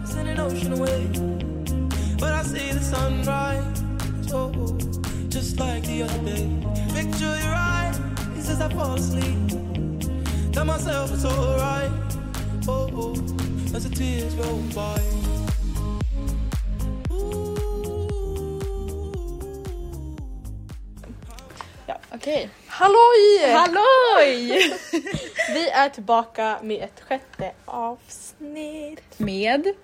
washing away. But I see the sunrise, oh, just like the other day. Picture your eyes as I fall asleep. Tell myself it's alright, oh, as the tears roll by. Okej. Halloj! Halloj! Vi är tillbaka med ett sjätte avsnitt. Med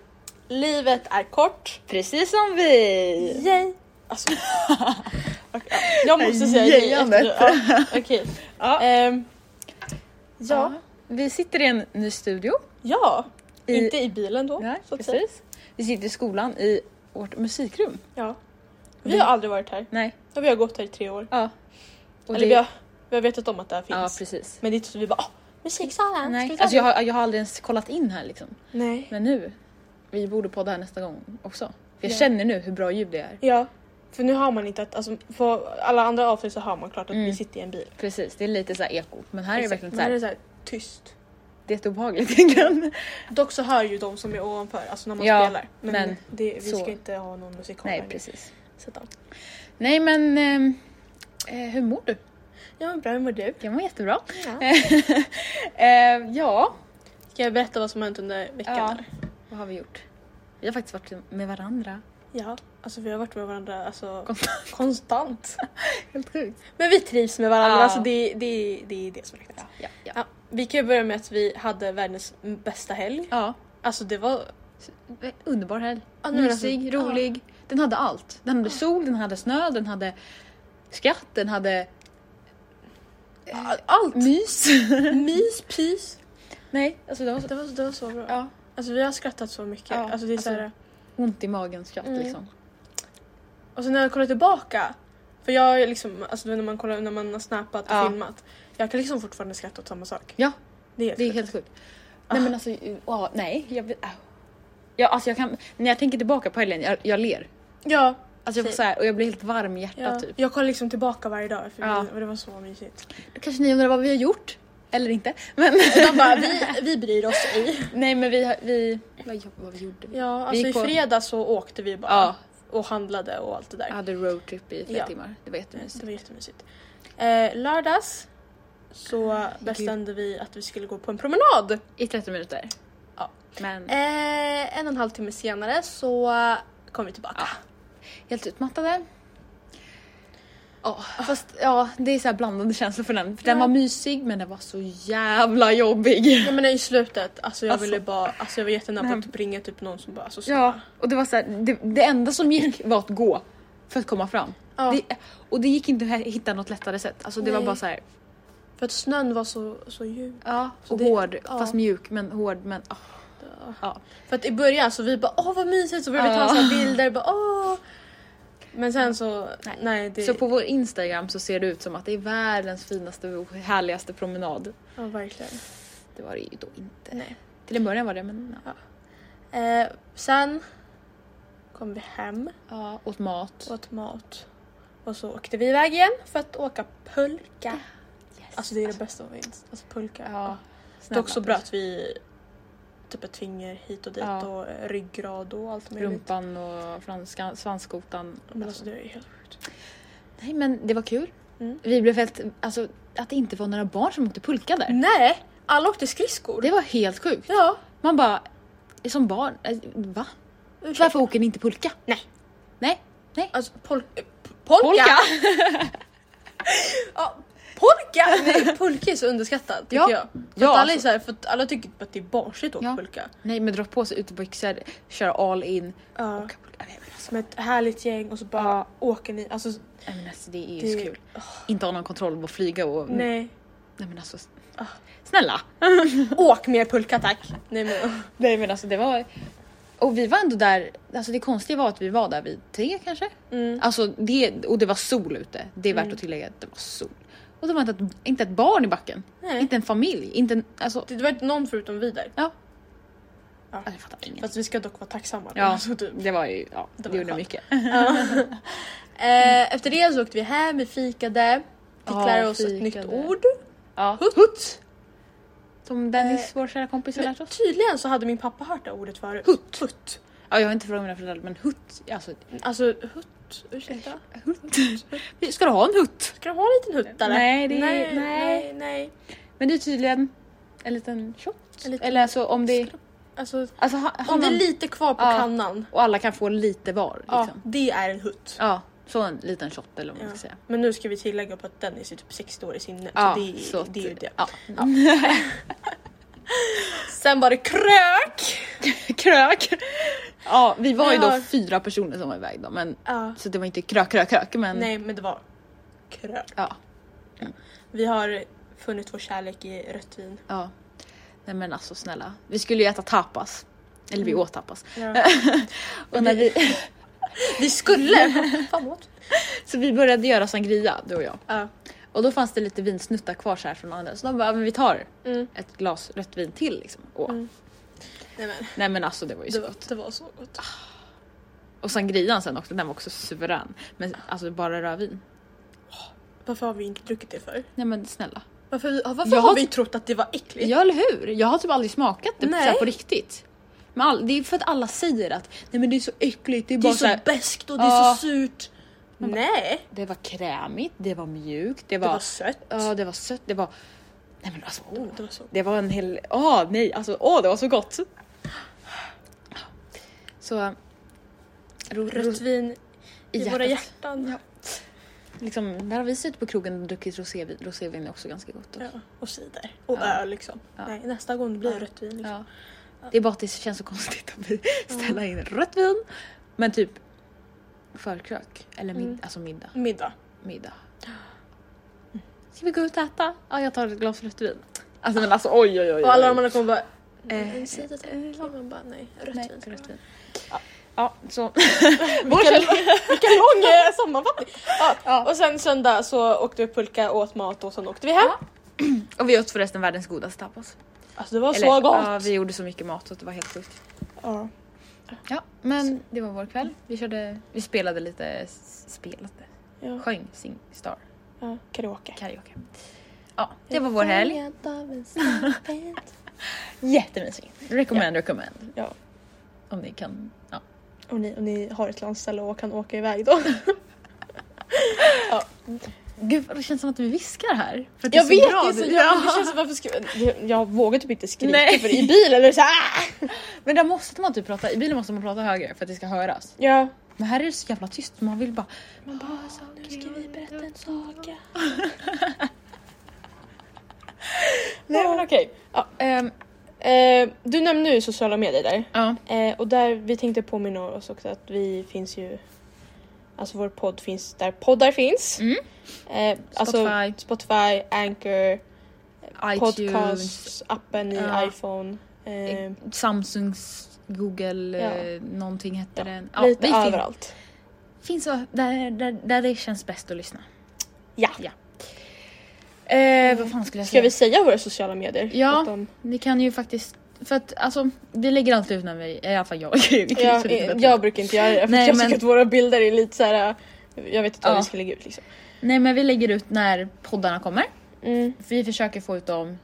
Livet är kort. Precis som vi. Yay! Alltså, Okej, ja, jag måste säga Yay, yay efter det. Ja, Okej. Ja. Ehm, ja. Vi sitter i en ny studio. ja. I- Inte i bilen då. Nej, så att säga. precis. Vi sitter i skolan i vårt musikrum. Ja. Vi har aldrig varit här. Nej. Ja, Vi har gått här i tre år. Ja. Och Eller det- vi har, vi har vetat om att det här Ja, finns. precis. Men det är inte så vi bara "Åh, musiksalen, ska vi Nej. ta Alltså jag, den?" har, jag har aldrig ens kollat in här liksom. Nej. Men nu, vi borde podda här nästa gång också. För jag Ja. känner nu hur bra ljud det är. Ja. För nu har man inte att, alltså på alla andra avsnitt så har man klart att Mm. vi sitter i en bil. Precis, det är lite så här eko. Men här är det Exakt. verkligen så Men här är det här, så här tyst. det är obehagligt egentligen. Dock så hör ju de som är ovanför, alltså när man Ja, spelar. Men, men det, vi så. ska inte ha någon musikal Nej, här nu. precis. Så att, ja. Nej men, ehm, eh, hur mår du? Ja men bra, hur mår du? Jag mår jättebra. Ja. Eh, ja, Ska jag berätta vad som har hänt under veckan? Ja. eller? vad har vi gjort? Vi har faktiskt varit med varandra. ja. Alltså vi har varit med varandra alltså, Konstant. konstant. Helt sjukt. Men vi trivs med varandra, Ja. alltså det, det, det är det som räknas. Ja, ja, ja. Ja, vi kan ju börja med att vi hade världens bästa helg. ja. Alltså det var... Eh, Underbar helg. Ja, nej, men alltså- Mysig, rolig. Den hade allt. Den hade sol, den hade snö, den hade skratt, den hade eh, Ja, Allt! mys. Mys, pys. Nej, alltså det var så... Det var, det var så bra. Ja. Alltså vi har skrattat så mycket. Ja, Alltså, det är alltså- så här, Ont i magen skratt Mm. liksom. och sen när jag kollar tillbaka. För jag har ju liksom, alltså du vet när man kollar när man har snappat och Ja. filmat. Jag kan liksom fortfarande skratta åt samma sak. Ja, Det är helt det är sjukt. helt sjukt. Nej Ah. men alltså, ja, nej. Jag, vill- ah. ja, alltså jag kan, när jag tänker tillbaka på helgen, jag, jag ler. Ja. Alltså jag får Typ. så här, och jag blir helt varm i hjärtat ja. typ. Jag kollar liksom tillbaka varje dag för Ja. vi, och det var så mysigt. Kanske ni undrar vad vi har gjort? Eller inte. Men De bara, vi, vi bryr oss ej. nej men vi, har- vi vad, gjo- vad gjorde vi? Ja, alltså gick i på- fredags så åkte vi bara Ja. och handlade och allt det där. Jag hade roadtrip i flera Ja. timmar. Det Det var jättemysigt. var jättemysigt. Eh, lördags så Gud. bestämde vi att vi skulle gå på en promenad. I 30 minuter. Ja. Men Eh, en och en halv timme senare så kom vi tillbaka. Ja. helt utmattade. Ja, fast ja, det är så här blandade känslor för den. För den Ah. Ja. var mysig men den var så jävla jobbig. Ja men i slutet, alltså jag Alltså. ville bara, alltså jag var jättenära på Nej. att typ ringa typ någon som bara alltså, Ja, och det var så här, det, det enda som gick var att gå för att komma fram. Ja. Det, och det gick inte att hitta något lättare sätt. Alltså det var Nej. bara så här, För att snön var så, så djup. ja, Så och det- hård ja. fast mjuk men hård men ah, ja. För att i början så vi bara åh vad mysigt så började vi ta Ja. så här bilder bara åh. Men sen så, nej. det, Så på vår Instagram så ser det ut som att det är världens finaste och härligaste promenad. ja verkligen. Det var det ju då inte. Nej. Till en början var det men ja. Eh, sen kom vi hem, ja åt mat. åt mat och så åkte vi iväg igen för att åka pulka. Yes. Alltså det är det bästa som finns, alltså pulka. Ja. Dock så bröt vi typ ett finger hit och dit Ja. och eh, ryggrad och allt möjligt. Rumpan och franskan, svanskotan. Men alltså det är ju helt sjukt. Nej men det var kul. Mm. Vi blev helt, alltså att det inte var några barn som åkte pulka Mm. där. Nej! Alla åkte skridskor. Det var helt sjukt. Ja. Man bara, som barn, eh, va? Ursäkta. Varför åker ni inte pulka? Nej. Nej, nej. Alltså pol eh, p- polka! Polka! ja, polka! Nej, pulka är så underskattat tycker Ja. jag. För, Ja, att alla är alltså. så här, för att alla tycker typ att det är barnsligt att åka Ja. pulka. Nej men dra på sig utebyxor, köra all in. Ja. Åka pulka. Nej, men alltså. Med ett härligt gäng och så bara Ja. åker ni. Alltså, Nej men alltså det är ju Det- så kul. Inte ha någon kontroll på att flyga och... nej. Nej men alltså... s- Ah. Snälla! Åk mer pulka tack! Nej men Nej men alltså det var... Och vi var ändå där, alltså det konstiga var att vi var där vid tre kanske? mm. Alltså det, och det var sol ute. Det är värt att tillägga att det var sol. Och det var inte ett, inte ett barn i backen. Nej. Inte en familj. Inte en, alltså... Det var inte någon förutom vi där. Ja. Ja. Alltså, jag fattar inget. Fast vi ska dock vara tacksamma. Ja, Mm. Alltså, typ. Det var ju, ja, det, var gjorde skönt. mycket. Eh, efter det så åkte vi hem, vi fikade. Fick Ja, lära oss ett fikade. nytt ord. Ja. Hutt! Eh, Som Dennis, vår kära kompis, har lärt oss. alltså, Tydligen så hade min pappa hört det ordet förut. Hutt. Hutt. Ja, jag har inte frågat mina föräldrar men hutt. Alltså, Alltså hutt, ursäkta? hutt. Ska du ha en hutt? Eh, Ska du ha en liten hutt eller? Nej, det är- nej, nej. nej. nej. Men det är tydligen en liten shot. En liten- Eller alltså om det Alltså alltså, ha, har om det är man- lite kvar på Ja. kannan. och alla kan få lite var. Ja, Liksom. det är en hutt. Ja, så en liten shot eller vad man Ja. ska säga. Men nu ska vi tillägga på att Dennis är typ 60 år i sinnet. Ja, så det, är- så att- det är ju det. Ja. Sen var det krök! Krök! Ja, vi var ju Jag då har- fyra personer som var iväg då men Ja. så det var inte krök, krök, krök men Mm. Nej men det var krök. Ja, Vi har funnit vår kärlek i rött vin. ja. Nej men alltså snälla. Vi skulle ju äta tapas. Eller Mm. vi åt tapas. Och när vi, Vi skulle! Fan vad så vi började göra sangria du och jag. Ja. Och då fanns det lite vinsnuttar kvar så här från andra så de bara, "Ja, men vi tar Mm. ett glas rött vin till liksom. Åh. Mm. Nej men Nej men alltså det var ju det så var, gott. det var så gott. Och sangrian sen också, den var också suverän. Men alltså bara rödvin. Varför har vi inte druckit det för? Nej men snälla. Varför, vi- varför Jag har har- vi trott att det var äckligt? Ja eller hur? Jag har typ aldrig smakat det Nej. såhär på riktigt. Men all, det är för att alla säger att nej men det är så äckligt, det är Det bara är så så här, beskt och det är Ja. så surt. Nej, Det var krämigt, det var mjukt, det det var var... sött. Oh, Ja det var sött, det var... Nej men alltså åh. Det var så. Det var en hel... Åh nej, alltså åh det var så gott! Så... Ro, Rött ro, vin i, hjärtat. våra hjärtan. Ja. liksom, där har vi suttit på krogen och druckit rosévin, rosévin är också ganska gott. Ja. Och cider. Och Ja. öl liksom. Ja. Nej, nästa gång blir det Ja. rött vin. Liksom. Ja. Det är bara att det känns så konstigt att vi ställa in rött vin men typ förkrök eller mid, Mm. alltså middag. Middag. middag. Ska vi gå ut och äta? Ja, jag tar ett glas rött vin. Alltså men alltså oj oj oj. Och alla de andra kommer bara... Eh, Eh, cider tack. Man bara nej, rött Nej, vin. ska rött det vin. Ja, så. vara. Vilken, vilken lång eh, sammanfattning! Ja. Ja. Och sen söndag så åkte vi pulka, åt mat och sen åkte vi hem. Och vi åt förresten världens godaste tapas. Alltså det var så gott! Ja, vi gjorde så mycket mat så att det var helt sjukt. Ja. Ja, men det var vår kväll. Vi körde, vi spelade lite, s- spelade, Ja. sjöng Sing Star Ja. Karaoke. karaoke. Ja, det var vår helg. Jättemysigt. Recommend, recommend. Ja. Om ni kan, ja. Och ni, och ni har ett landställe och kan åka iväg då. Gud, det känns som att vi viskar här. För att det är Jag så vet bra. det, är så, jag, det känns som varför ska, jag- jag vågar typ inte skrika Nej. för i bilen är det såhär Men där måste man typ prata, i bilen måste man prata högre för att det ska höras. Ja. Men här är det så jävla tyst, man vill bara... Man bara så, nu ska vi berätta en saga. Nej men okej. Ja, ehm, Eh, du nämnde ju sociala medier där. ja. typ Eh, och där vi tänkte påminna oss också att vi finns ju Alltså vår podd finns där poddar finns. Mm. Eh, alltså Spotify. Spotify, Anchor, iTunes, podcast, appen i Ja. iPhone. Eh, Samsungs, Google, Ja. eh, någonting hette Ja, den. Ja, lite vi fin- överallt. finns ö- där, där, där det känns bäst att lyssna. Ja. Eh, vad fan skulle jag Mm. Ska säga? vi säga våra sociala medier? Ja. Att de- Ni kan ju faktiskt... För att alltså, vi lägger alltid ut när vi... I alla fall jag. Vi kan ju Ja, så lite bättre. jag brukar inte göra det för Nej, jag men- tycker att våra bilder är lite så här. äh, Jag vet inte vad Ja. vi ska lägga ut liksom. Nej men vi lägger ut när poddarna kommer. Mm. För vi försöker få ut dem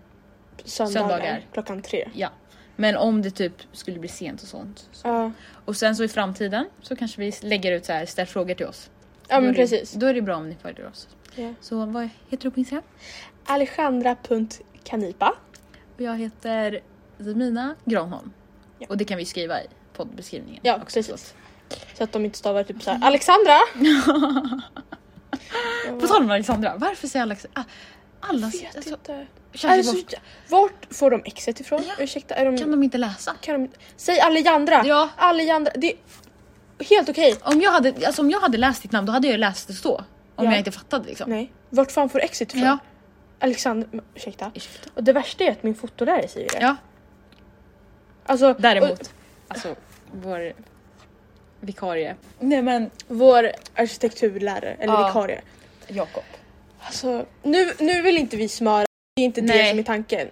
Söndagar, Söndagar. klockan tre. Ja. Men om det typ skulle bli sent och sånt. Så. Ja, Och sen så i framtiden så kanske vi lägger ut så här, ställ frågor till oss. ja Då är men det- precis. Då är det bra om ni följer oss. Ja. Så vad heter du på Instagram? Alejandra.canipa. Och jag heter Zemina Granholm. Ja. Och det kan vi skriva i poddbeskrivningen. Ja, också, så precis. Så att de inte stavar typ så här. Alexandra! att- På tal om Alexandra, varför säger Alex... Ah, alla... Jag vet Alltså, inte. kanske Alltså, bara- vart får de exet ifrån? Ja. Ursäkta, är de... kan de inte läsa? Kan de... Säg Alejandra! Ja. Alejandra! Det är helt okej. Om jag, hade, alltså, om jag hade läst ditt namn då hade jag läst det så. Om Ja. jag inte fattade liksom. Nej. Vart fan får du exet ifrån? Ja. Alexandra... men, Ursäkta. Ursäkta. Och det värsta är att min fotolärare säger det. Ja, Alltså, däremot. och alltså vår vikarie. Nej men Vår arkitekturlärare, eller Ja. vikarie. Jakob. Alltså, nu, nu vill inte vi smöra, det är inte det Nej. som är tanken.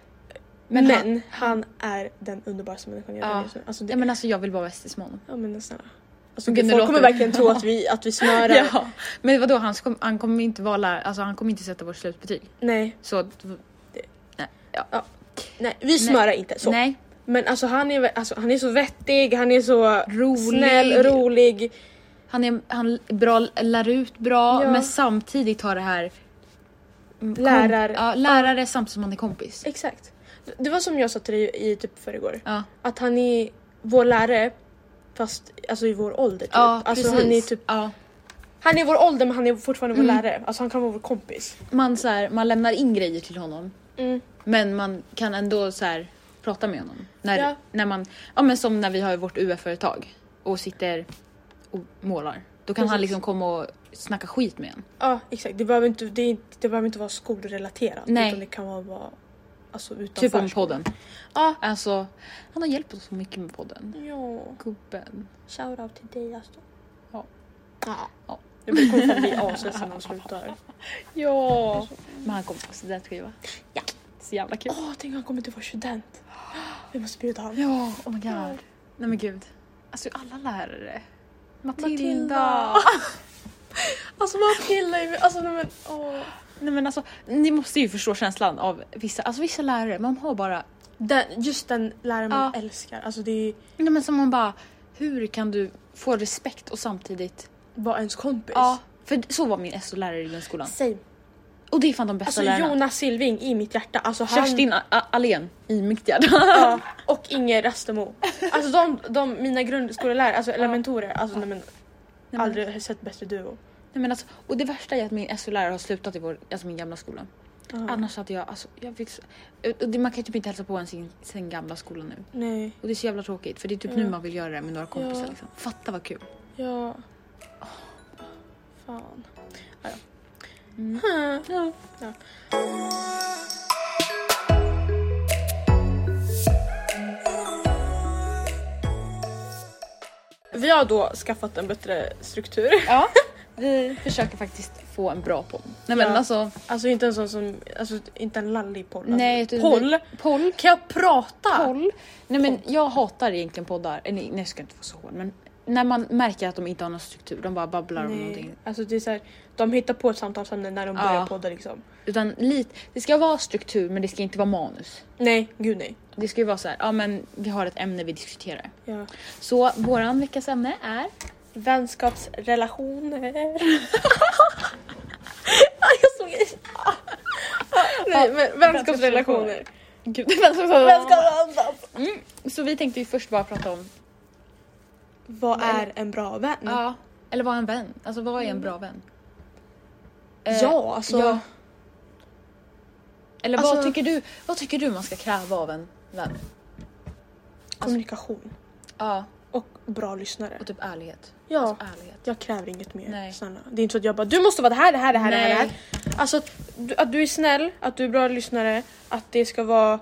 Men Men, han- han, är den underbaraste människan jag Ja. vet just nu. Alltså, det, Nej men alltså jag vill vara bästis med honom. ja men snälla. Alltså, Gud, nu folk kommer låter- verkligen tro att vi, att vi smörar. Ja. Men vadå han, kom, han kommer inte vara lär, alltså han kommer inte sätta vårt slutbetyg. Nej, Så att- Det- nej. Ja. nej, vi smörar inte. Så. Nej. Men alltså han är, alltså, han är så vettig, han är så Rolig. snäll, rolig. Han, är, han är bra, lär ut bra Ja. men samtidigt har det här... mm, kom- Lärar- Typ. Ja, lärare samtidigt som han är kompis. Exakt. Det var som jag sa till dig i typ förrgår. Ja. Att han är vår lärare fast alltså i vår ålder typ. Ja, alltså, precis. han, är typ, ja. han är vår ålder men han är fortfarande vår lärare. Alltså han kan vara vår kompis. man, så här, man lämnar in grejer till honom Mm. men man kan ändå så här, prata med honom. När, Ja. när man, ja, men som när vi har vårt UF-företag och sitter och målar. Då kan han Precis. liksom komma och snacka skit med en. Ja exakt, det behöver inte, det är inte, det behöver inte vara skolrelaterat. Nej. Utan det kan vara bara, alltså utanför. Typ om skolan. podden. Ja. Alltså, han har hjälpt oss så mycket med podden. Ja, Gubben. shoutout till dig Aston. Ja. Ja. Ja. Jag kommer fan bli asledsen när han slutar. Ja! Men han kommer på studentskiva. Ja. Så jävla kul. Åh, tänk han kommer inte vara student. Vi måste bjuda honom. Ja, oh my god. Nej men gud. Alltså alla lärare. Matilda. Matilda. Alltså Matilda är... Alltså nej men åh. Nej men alltså, ni måste ju förstå känslan av vissa, alltså vissa lärare, man har bara, Den, just den läraren man Ja. älskar. Alltså det är nej men som man bara, hur kan du få respekt och samtidigt, bara ens kompis. ja. För så var min SO-lärare i grundskolan. Same. Och det är fan de bästa Alltså lärarna. Jonas Silving i mitt hjärta. Alltså han... Kerstin A- A- Alén i mitt hjärta. Ja, och Inger Rastemo. Alltså de, de mina grundskolelärare, alltså elementorer. Alltså nej men men- aldrig har sett bättre duo. Nej, men alltså, och det värsta är att min SO-lärare har slutat i vår, alltså min gamla skola. Annars hade jag, alltså, jag fick, så- och det, man kan ju typ inte hälsa på en sin, sin gamla skola nu. Nej. Och det är så jävla tråkigt för det är typ Ja. nu man vill göra det med några kompisar. Mm. Ja. Liksom. Fatta vad kul. Ja. Fan. Ja, Mm. ja. Hmm. Ja. Vi har då skaffat en bättre struktur. Ja, vi försöker faktiskt få en bra podd. Nej men Ja. alltså, Alltså inte en sån som, alltså inte en lallig poll. Nej, alltså, utan- poll? poll. Kan jag prata? Poll. Nej men jag hatar egentligen poddar. Eh, Nej, nej jag ska inte få så hård men när man märker att de inte har någon struktur, de bara babblar om Nej. någonting. Alltså det är så här, de hittar på ett samtalsämne när de Ja. börjar podda liksom. Utan lite, det ska vara struktur men det ska inte vara manus. Nej, gud nej. Det ska ju vara så här, ja men vi har ett ämne vi diskuterar. Ja. Så våran veckas ämne är Vänskapsrelationer. Ah, jag såg i- Ah. Nej, men vänskapsrelationer. Gud, Vänskapsrelationer. mm. Så vi tänkte ju först bara prata om, Vad är en bra vän? ja, eller vad är en vän? Alltså vad är en bra vän? Eh, Ja, alltså. ja. Eller vad, Alltså- tycker du, vad tycker du man ska kräva av en vän? Kommunikation Ja, och bra lyssnare. och typ ärlighet. Ja. Alltså ärlighet. Jag kräver inget mer. Nej. Snälla. Det är inte så att jag bara du måste vara det här, det här, det här, det här, det här. Nej. Alltså att du, att du är snäll, att du är bra lyssnare, att det ska vara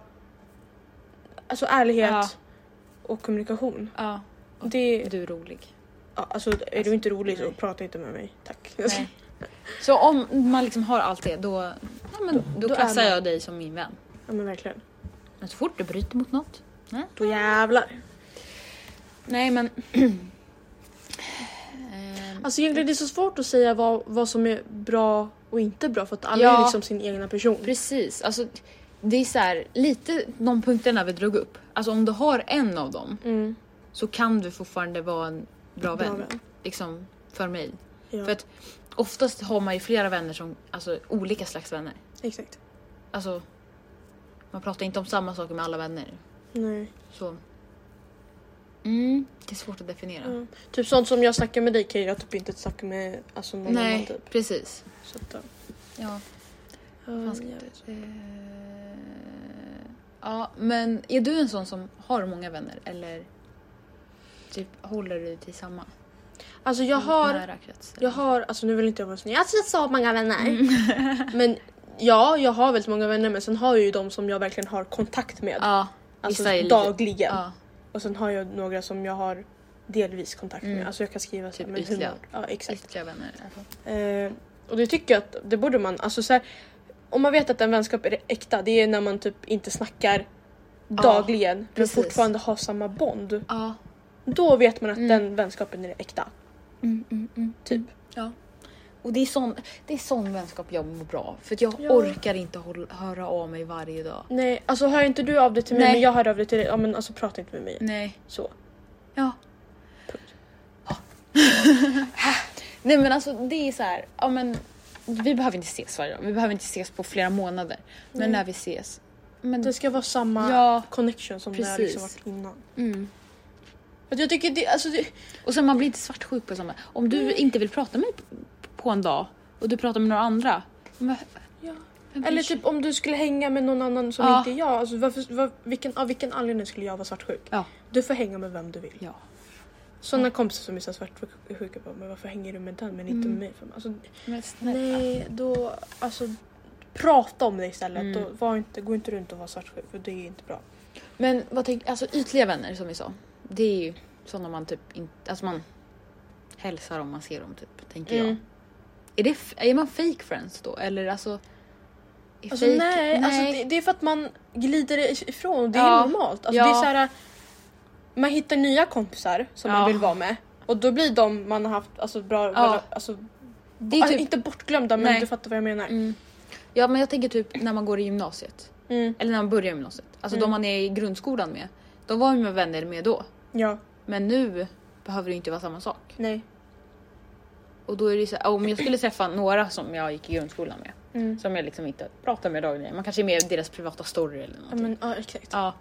alltså ärlighet Ja. och kommunikation. Ja, Det, du är rolig. ja, alltså är du inte rolig så nej. prata inte med mig. Tack. Alltså, Nej. Så om man liksom har allt det då, ja, men, då, då är klassar man- jag dig som min vän. Ja men verkligen. Men så fort du bryter mot något. Nej, Då jävlar. nej men... Ehm, Alltså egentligen det är så svårt att säga vad, vad som är bra och inte bra för att alla Ja. är liksom sin egna person. Precis, alltså det är så här, lite de punkterna vi drog upp. Alltså om du har en av dem Mm. så kan du fortfarande vara en bra, Bra vän. vän. Liksom för mig. Ja. För att oftast har man ju flera vänner som, alltså olika slags vänner. Exakt. Alltså man pratar inte om samma saker med alla vänner. Nej. Så. Mm, det är svårt att definiera. Mm. Typ sånt som jag snackar med dig kan jag typ inte snacka med alltså, någon annan Nej, typ. precis. Så att, ja. Ja, Ja, fan ska jag jag- vet. eh, ja, men är du en sån som har många vänner eller typ håller du till samma Alltså jag har, nära krets? jag har, alltså nu vill inte jag vara sån, jag har så många vänner. Mm. Men ja, jag har väldigt många vänner men sen har jag ju de som jag verkligen har kontakt med. Ja, alltså vissa är lite- dagligen. ja, Och sen har jag några som jag har delvis kontakt med. Mm. Alltså jag kan skriva så här, Typ men hur ytliga. mår- Ja exakt. ytliga vänner. Alltså. Eh, och det tycker jag att det borde man, alltså så här, om man vet att en vänskap är äkta det är när man typ inte snackar dagligen men precis. fortfarande har samma bond. Ja, Då vet man att Mm. den vänskapen är äkta. mm, mm, mm. Typ. Ja. Och det är sån, det är sån vänskap jag mår bra av, För att jag Ja. orkar inte hålla, höra av mig varje dag. Nej, alltså hör inte du av dig till mig Nej. men jag hör av dig till dig. Ja men alltså prata inte med mig. Nej. Så. Ja. Nej men alltså det är så här, ja men vi behöver inte ses varje dag. Vi behöver inte ses på flera månader. Men Nej. när vi ses. Men Det ska vara samma Ja, connection som det har liksom precis. varit innan. mm. För att jag tycker det, alltså det, Och sen man blir inte svartsjuk på samma. Om du inte vill prata med mig p- på en dag och du pratar med några andra. Men, Ja. vem bryr Eller sig? typ om du skulle hänga med någon annan som Ja. inte är jag. Alltså varför, var, vilken, av vilken anledning skulle jag vara svartsjuk? Ja. Du får hänga med vem du vill. typ- Ja. Sådana kompisar som är så svartsjuka på men varför hänger du med den men Mm. inte med mig? För mig? Alltså, Men snälla. nej, då alltså prata om det istället. Mm. Och var inte, gå inte runt och var svartsjuk för det är inte bra. Men vad tänker, alltså ytliga vänner som vi sa. Det är ju sådana man typ inte, alltså man hälsar om man ser dem typ, tänker jag. Mm. Är, det, f- är man fake friends då? Eller alltså? Är Alltså, fake- nej, Alltså, det, det är för att man glider ifrån och det Ja. är normalt. Alltså, Ja. det är så här, man hittar nya kompisar som Ja. man vill vara med och då blir de man har haft alltså, bra... Ja. Alltså, det är alltså, typ, Inte bortglömda men Nej. du fattar vad jag menar. mm, ja men jag tänker typ när man går i gymnasiet. Mm. Eller när man börjar gymnasiet. Alltså de man är i grundskolan med. De var ju med vänner med då. Ja, Men nu behöver det ju inte vara samma sak. nej. Och då är det ju så här, om jag skulle träffa några som jag gick i grundskolan med. Mm. Som jag liksom inte pratar med dagligen. Man kanske är med i deras privata story eller Ja, någonting. men, ja exakt. Ja. Ja.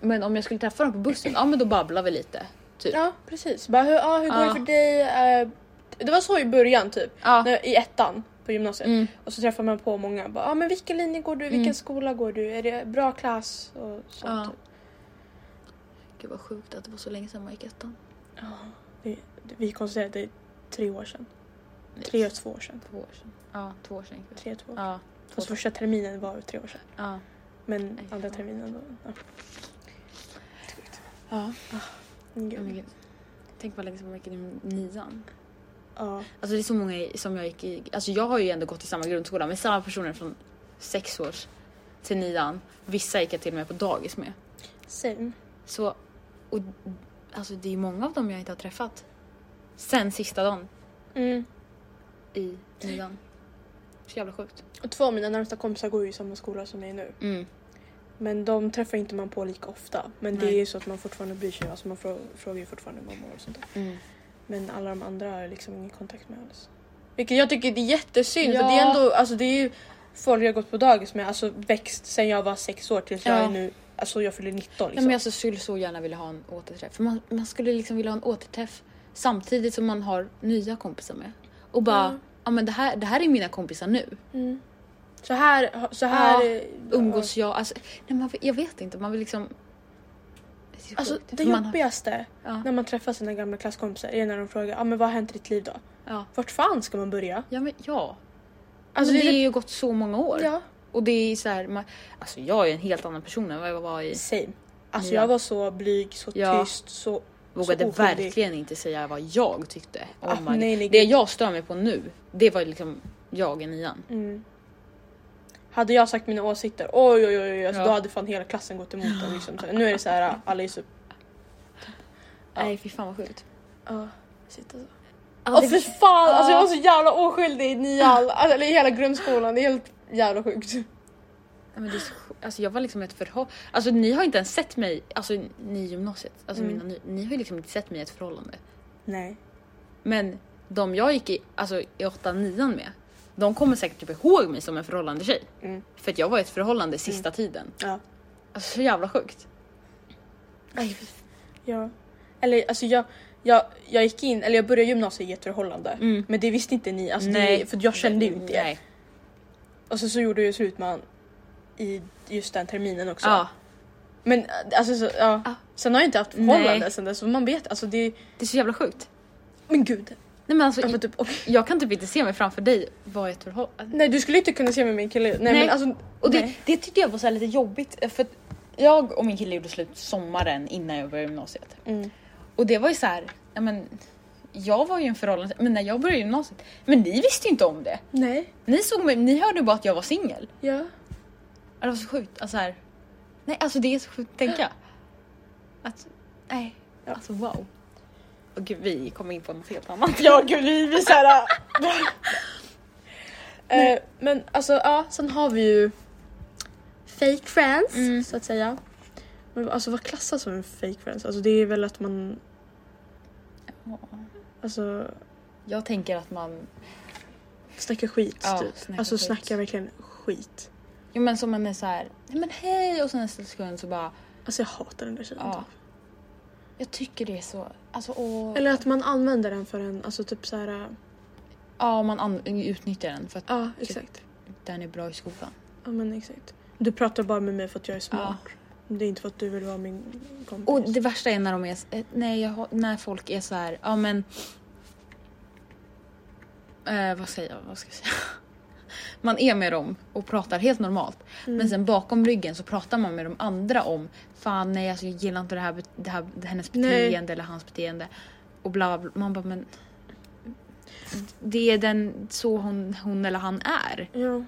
Men om jag skulle träffa dem på bussen, ja men då babblar vi lite. Typ. precis. Bara, hur, ja, hur går Ja. det för dig? Eh, det var så i början typ. Ja. När- I ettan på gymnasiet. Mm. Och så träffar man på många. Bara, ah, men vilken linje går du? Vilken Mm. skola går du? Är det bra klass? Och typ. sånt. Ja. Ja. Gud vad sjukt att det var så länge sedan man gick ettan. Det- Vi konstaterade det är tre år sedan. Nej, Tre och två år sedan. Två år sedan. Ja, två år sedan gick vi. Tre och två. Ja. Fast första terminen var tre år sedan. ja. Men Aj, andra fan. terminen var... Ja. ja. Men Oh my Gud. God. Tänk vad länge sedan man gick i nian. Ja. Alltså det är så många i- som jag gick i. Alltså jag har ju ändå gått i samma grundskola med samma personer från sex års till nian. Vissa gick jag till och med på dagis med. Same. Så, och alltså det är många av dem jag inte har träffat. Sen sista dagen Mm. i nian. Så jävla sjukt. Och två av mina närmsta kompisar går ju i samma skola som jag är nu. Mm. Men de träffar inte man på lika ofta. Men det Nej. är ju så att man fortfarande bryr sig. Alltså man frå- frågar ju fortfarande hur man mår och sånt där. Mm. Men alla de andra har jag liksom ingen kontakt med alls. Vilket jag tycker det är jättesynd. För det är Ja. ändå, alltså det är ju folk jag har gått på dagis med. Alltså växt sen jag var sex år tills jag Ja. är nu, alltså jag fyller 19 Ja, liksom. men jag skulle så gärna vilja ha en återträff. För man, man skulle liksom vilja ha en återträff samtidigt som man har nya kompisar med. Och bara, Ja. ja men det här, det här är mina kompisar nu. mm. Så här, så här Ja, eh, Umgås jag? Alltså, nej, man, jag vet inte, man vill liksom... Det är Alltså sjukt, det typ för man har- jobbigaste Ja. när man träffar sina gamla klasskompisar är när de frågar ah, men vad har hänt i ditt liv då? Ja. Vart fan ska man börja? Ja, men, ja. Alltså, men det är det har typ- ju gått så många år. Ja, Och det är så här, man, alltså jag är en helt annan person än vad jag var i. same. Alltså Ja. jag var så blyg, så Ja. tyst, så... Vågade oskyldig. verkligen inte säga vad jag tyckte. Oh Ah, my God. nej, nej, det gud. jag stör mig på nu, det var liksom jag i nian. Mm. Hade jag sagt mina åsikter, oj oj oj, oj alltså, Ja. då hade fan hela klassen gått emot en. Liksom. Så Nu är det så här, alla är så... Nej fy fan vad sjukt. Ja, shit alltså. Ja, Åh det- fy fan, alltså jag Ja. var så jävla oskyldig i nian, alltså, eller i hela grundskolan. Det är helt jävla sjukt. Ja, men det är så, sj- alltså jag var liksom i ett förhållande. Alltså ni har inte ens sett mig, alltså ni i gymnasiet. Alltså Mm. mina, ny- ni har ju liksom inte sett mig i ett förhållande. Nej. Men de jag gick i, alltså i åttan, nian med. De kommer säkert typ ihåg mig som en förhållande tjej. Mm. För att jag var i ett förhållande sista tiden. Ja. Alltså så jävla sjukt. Ja. Eller alltså jag, jag, jag gick in, eller jag började gymnasiet i ett förhållande. Mm. Men det visste inte ni, alltså Nej. Det, för jag kände ju inte er. Nej. Och så, så gjorde jag slut med han i just den terminen också. Ja. Men äh, alltså så, ja. Ja. Sen har jag inte haft förhållande Nej. sen dess, så man vet alltså det... Det är så jävla sjukt. Men gud. Nej men alltså Ja, men jag, typ, och, jag kan typ inte se mig framför dig vara i ett förhållande. nej du skulle inte kunna se mig med en kille. Nej, Nej. men alltså... Och det, nej. det tyckte jag var så här lite jobbigt eh, för att jag och min kille gjorde slut sommaren innan jag började gymnasiet. Mm. Och det var ju så här, ja men jag var ju i en förhållande, men när jag började gymnasiet, men ni visste ju inte om det. Nej. Ni såg mig, ni hörde bara att jag var singel. Ja. Ja, Det var så sjukt, alltså så här, nej alltså det är så sjukt att tänka. Att, nej, Ja. alltså wow. Och gud, vi kommer in på något helt annat. Ja gud vi blir såhär... eh, men alltså ja, sen har vi ju fake friends Mm. så att säga. Men alltså vad klassas som en fake friends? Alltså det är väl att man... äh. Alltså Jag tänker att man... snackar skit Ja, typ. snackar alltså skit. snackar verkligen skit. Jo men som man är så här, nej men hej och sen nästa sekund så bara, Alltså jag hatar den där tjejen. ja. typ. Jag tycker det är så, alltså och... Eller att man använder den för en, alltså typ såhär... Ja man an- utnyttjar den för att Ja exakt. den är bra i skolan. Ja men exakt. Du pratar bara med mig för att jag är Ja. smart. Det är inte för att du vill vara min kompis. Och det värsta är när de är, s- eh, nej jag, har- när folk är så här, ja men... Eh, vad säger jag, vad ska jag säga? Man är med dem och pratar helt normalt. Men sen bakom ryggen så pratar man med de andra om, fan nej alltså jag gillar inte det här, bet- det här hennes Nej. beteende eller hans beteende. Och bla bla, man bara men... Det är den, så hon, hon eller han är. Ja.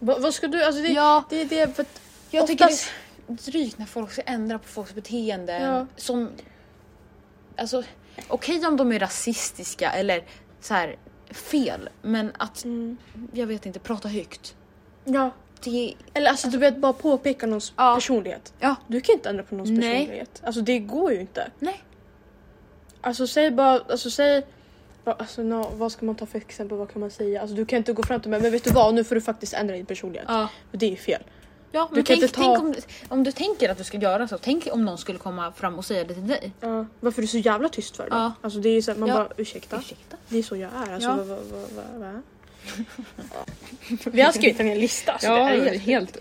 Va, vad ska du, alltså det, Ja. det är det för att Jag tycker Oftast- det är drygt när folk ska ändra på folks beteende. Ja. Som, alltså, okej om de är rasistiska eller så här fel, men att, Mm. jag vet inte, prata högt. Ja. Det, Eller alltså du vet bara påpeka någons Ja. personlighet. ja, Du kan inte ändra på någons Nej. personlighet. Alltså det går ju inte. nej. Alltså säg bara, alltså säg va- Alltså, nå- vad ska man ta för exempel? Vad kan man säga? Alltså, du kan inte gå fram till mig, men vet du vad? Nu får du faktiskt ändra din personlighet. Ja. För det är fel. Ja, Du men kan tänk, inte ta- tänk om, om du tänker att du ska göra så, tänk om någon skulle komma fram och säga det till dig. Ja. Varför är du så jävla tyst för då? Ja. Alltså, det är så här, man Ja. bara ursäkta. Ursäkta? Det är så jag är. Alltså, Ja. vad, vad, vad, vad, vad? Vi har skrivit en hel lista. Så det är helt- helt,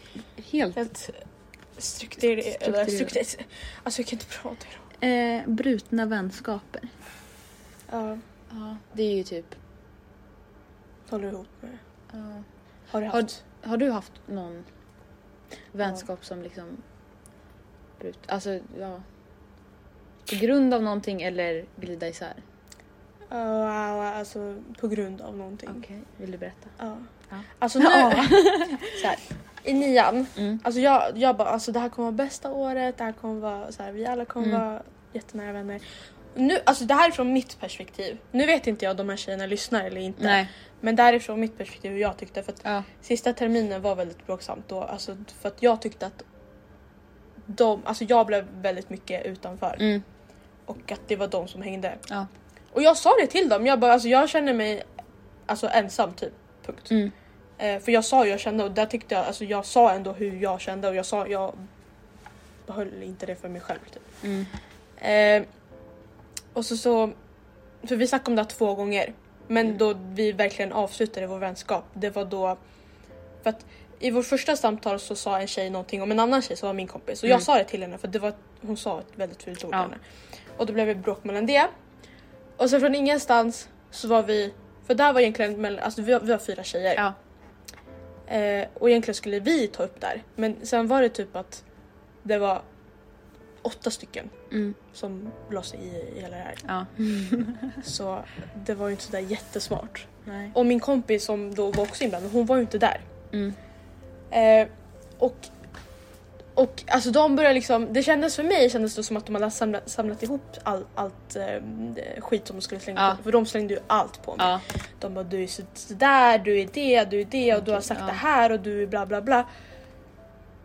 helt. Helt strukturer... Eller struktur... Alltså jag kan inte prata idag. Eh, brutna vänskaper. Ja. Ja, det är ju typ. Håller ihop med ja. Har du Har- haft? Har du haft någon vänskap som liksom... brut- Alltså, ja. På grund av någonting eller glida isär? Ja, ja, ja, alltså på grund av någonting. Vill du berätta? Ja. Ja. Alltså nu... så här, I nian, Mm. alltså jag, jag bara alltså det här kommer vara bästa året, det här kommer vara så här, vi alla kommer Mm. vara jättenära vänner. Nu, alltså det här är från mitt perspektiv. Nu vet inte jag om de här tjejerna lyssnar eller inte. Nej. Men det här är från mitt perspektiv hur jag tyckte. För att Ja. Sista terminen var väldigt bråksamt då, alltså för att jag tyckte att de, alltså jag blev väldigt mycket utanför Mm. och att det var de som hängde. Ja. Och jag sa det till dem, jag bara alltså jag känner mig alltså ensam typ, punkt. Mm. Eh, för jag sa hur jag kände och där tyckte jag, alltså jag sa ändå hur jag kände och jag sa, jag behöll inte det för mig själv typ. Mm. Eh, och så så, för vi snackade om det här två gånger. Men Mm. då vi verkligen avslutade vår vänskap, det var då... För att i vårt första samtal så sa en tjej någonting om en annan tjej som var min kompis. Och jag Mm. sa det till henne för det var, hon sa ett väldigt fult ord till Ja. henne. Och då blev det bråk mellan det. Och sen från ingenstans så var vi... För där var egentligen, mellan, alltså vi var, vi var fyra tjejer. Ja. Eh, och egentligen skulle vi ta upp där. Men sen var det typ att det var åtta stycken Mm. som la sig i, i hela det här. Ja. Så det var ju inte sådär jättesmart. Nej. Och min kompis som då var också inblandad, hon var ju inte där. Mm. Eh, och och alltså de började liksom, det kändes för mig kändes det som att de hade samlat, samlat ihop all, allt eh, skit som de skulle slänga Ja. på För de slängde ju allt på mig. Ja. De bara du är så- sådär, du är det, du är det och du har sagt ja. det här och du är bla bla bla.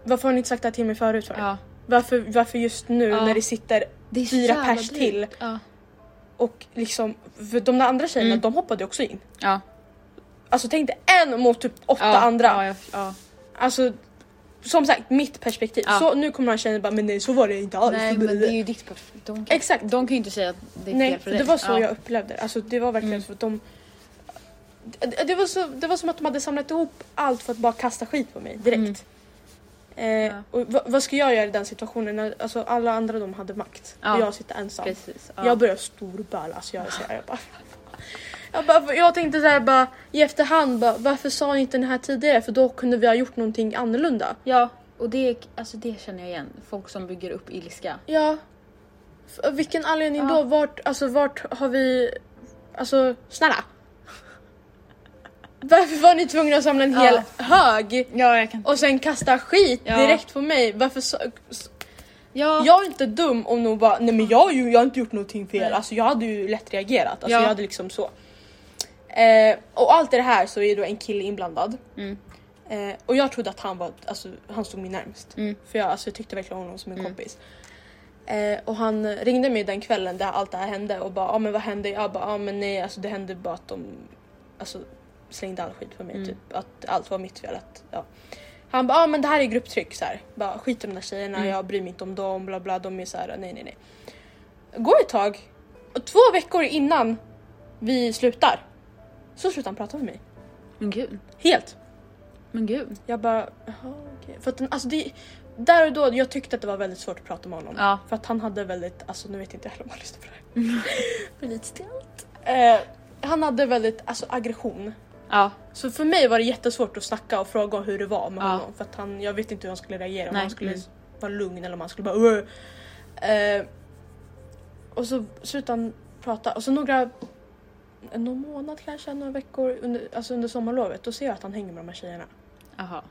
Varför har ni inte sagt det här till mig förut? För? ja. Varför, varför just nu Ja. när det sitter Det är så Fyra jävla pers drygt. till. Ja. och liksom, för de där andra tjejerna Mm. de hoppade ju också in. Ja. Alltså tänk dig en mot typ åtta andra. Ja, jag, ja. Alltså som sagt mitt perspektiv. Ja. Så nu kommer den här tjejen bara men nej så var det inte alls. Nej men det är ju ditt perspektiv. De kan, Exakt. de kan ju inte säga att det är Nej fel för för dig. det var så ja. jag upplevde det. Alltså det var verkligen Mm. så att de det, det, var så, det var som att de hade samlat ihop allt för att bara kasta skit på mig direkt. Eh, Mm. Ja. och vad- vad ska jag göra i den situationen? när Alltså alla andra de hade makt Ja. och jag sitter ensam. Precis. Ja. Jag börjar storböla, alltså jag, så här, jag bara... Jag, bara, för jag tänkte såhär bara i efterhand, bara, varför sa ni inte den här tidigare? För då kunde vi ha gjort någonting annorlunda. ja. Och det, alltså det känner jag igen. Folk som bygger upp ilska. Ja. F- av vilken anledning Ja. då? Vart, alltså, vart har vi... Alltså snälla. Varför var ni tvungna att samla en Ja. hel hög Ja, jag kan och sen kasta skit Ja. direkt på mig? Varför sa... s- Ja. Jag är inte dum om någon bara nej men jag, är ju- jag har inte gjort någonting fel. Nej. Alltså jag hade ju lätt reagerat. Alltså Ja. jag hade liksom så. Eh, och allt i det här så är då en kille inblandad. Mm. Eh, och jag trodde att han var, alltså han stod mig närmst. Mm. För jag, alltså, jag tyckte verkligen om honom som en kompis. Eh, och han ringde mig den kvällen där allt det här hände och bara ja ah, men vad hände? Jag bara ja ah, men nej alltså det hände bara att de alltså, slängde all skit på mig. Mm. Typ att allt var mitt fel. Att, ja. Han bara ja ah, men det här är grupptryck så här. Bara skit i de där tjejerna, Mm. jag bryr mig inte om dem bla bla. De är så här nej nej nej. Går ett tag och två veckor innan vi slutar så slutar han prata med mig. Men gud. Helt. Men gud. Jag bara, jaha okej. För att den, alltså det, där och då, jag tyckte att det var väldigt svårt att prata med honom. Ja. För att han hade väldigt, alltså nu vet inte jag heller om han lyssnar på det här. Men lite stelt. Eh, han hade väldigt, alltså aggression. Ja. Så för mig var det jättesvårt att snacka och fråga om hur det var med Ja. honom. För att han, jag vet inte hur han skulle reagera. Om Nej, han skulle mm. vara lugn eller om han skulle bara "Ugh." eh, Och så slutade han prata. Och så några, någon månad kanske, några veckor under, alltså under sommarlovet. Då ser jag att han hänger med de här tjejerna. Jaha.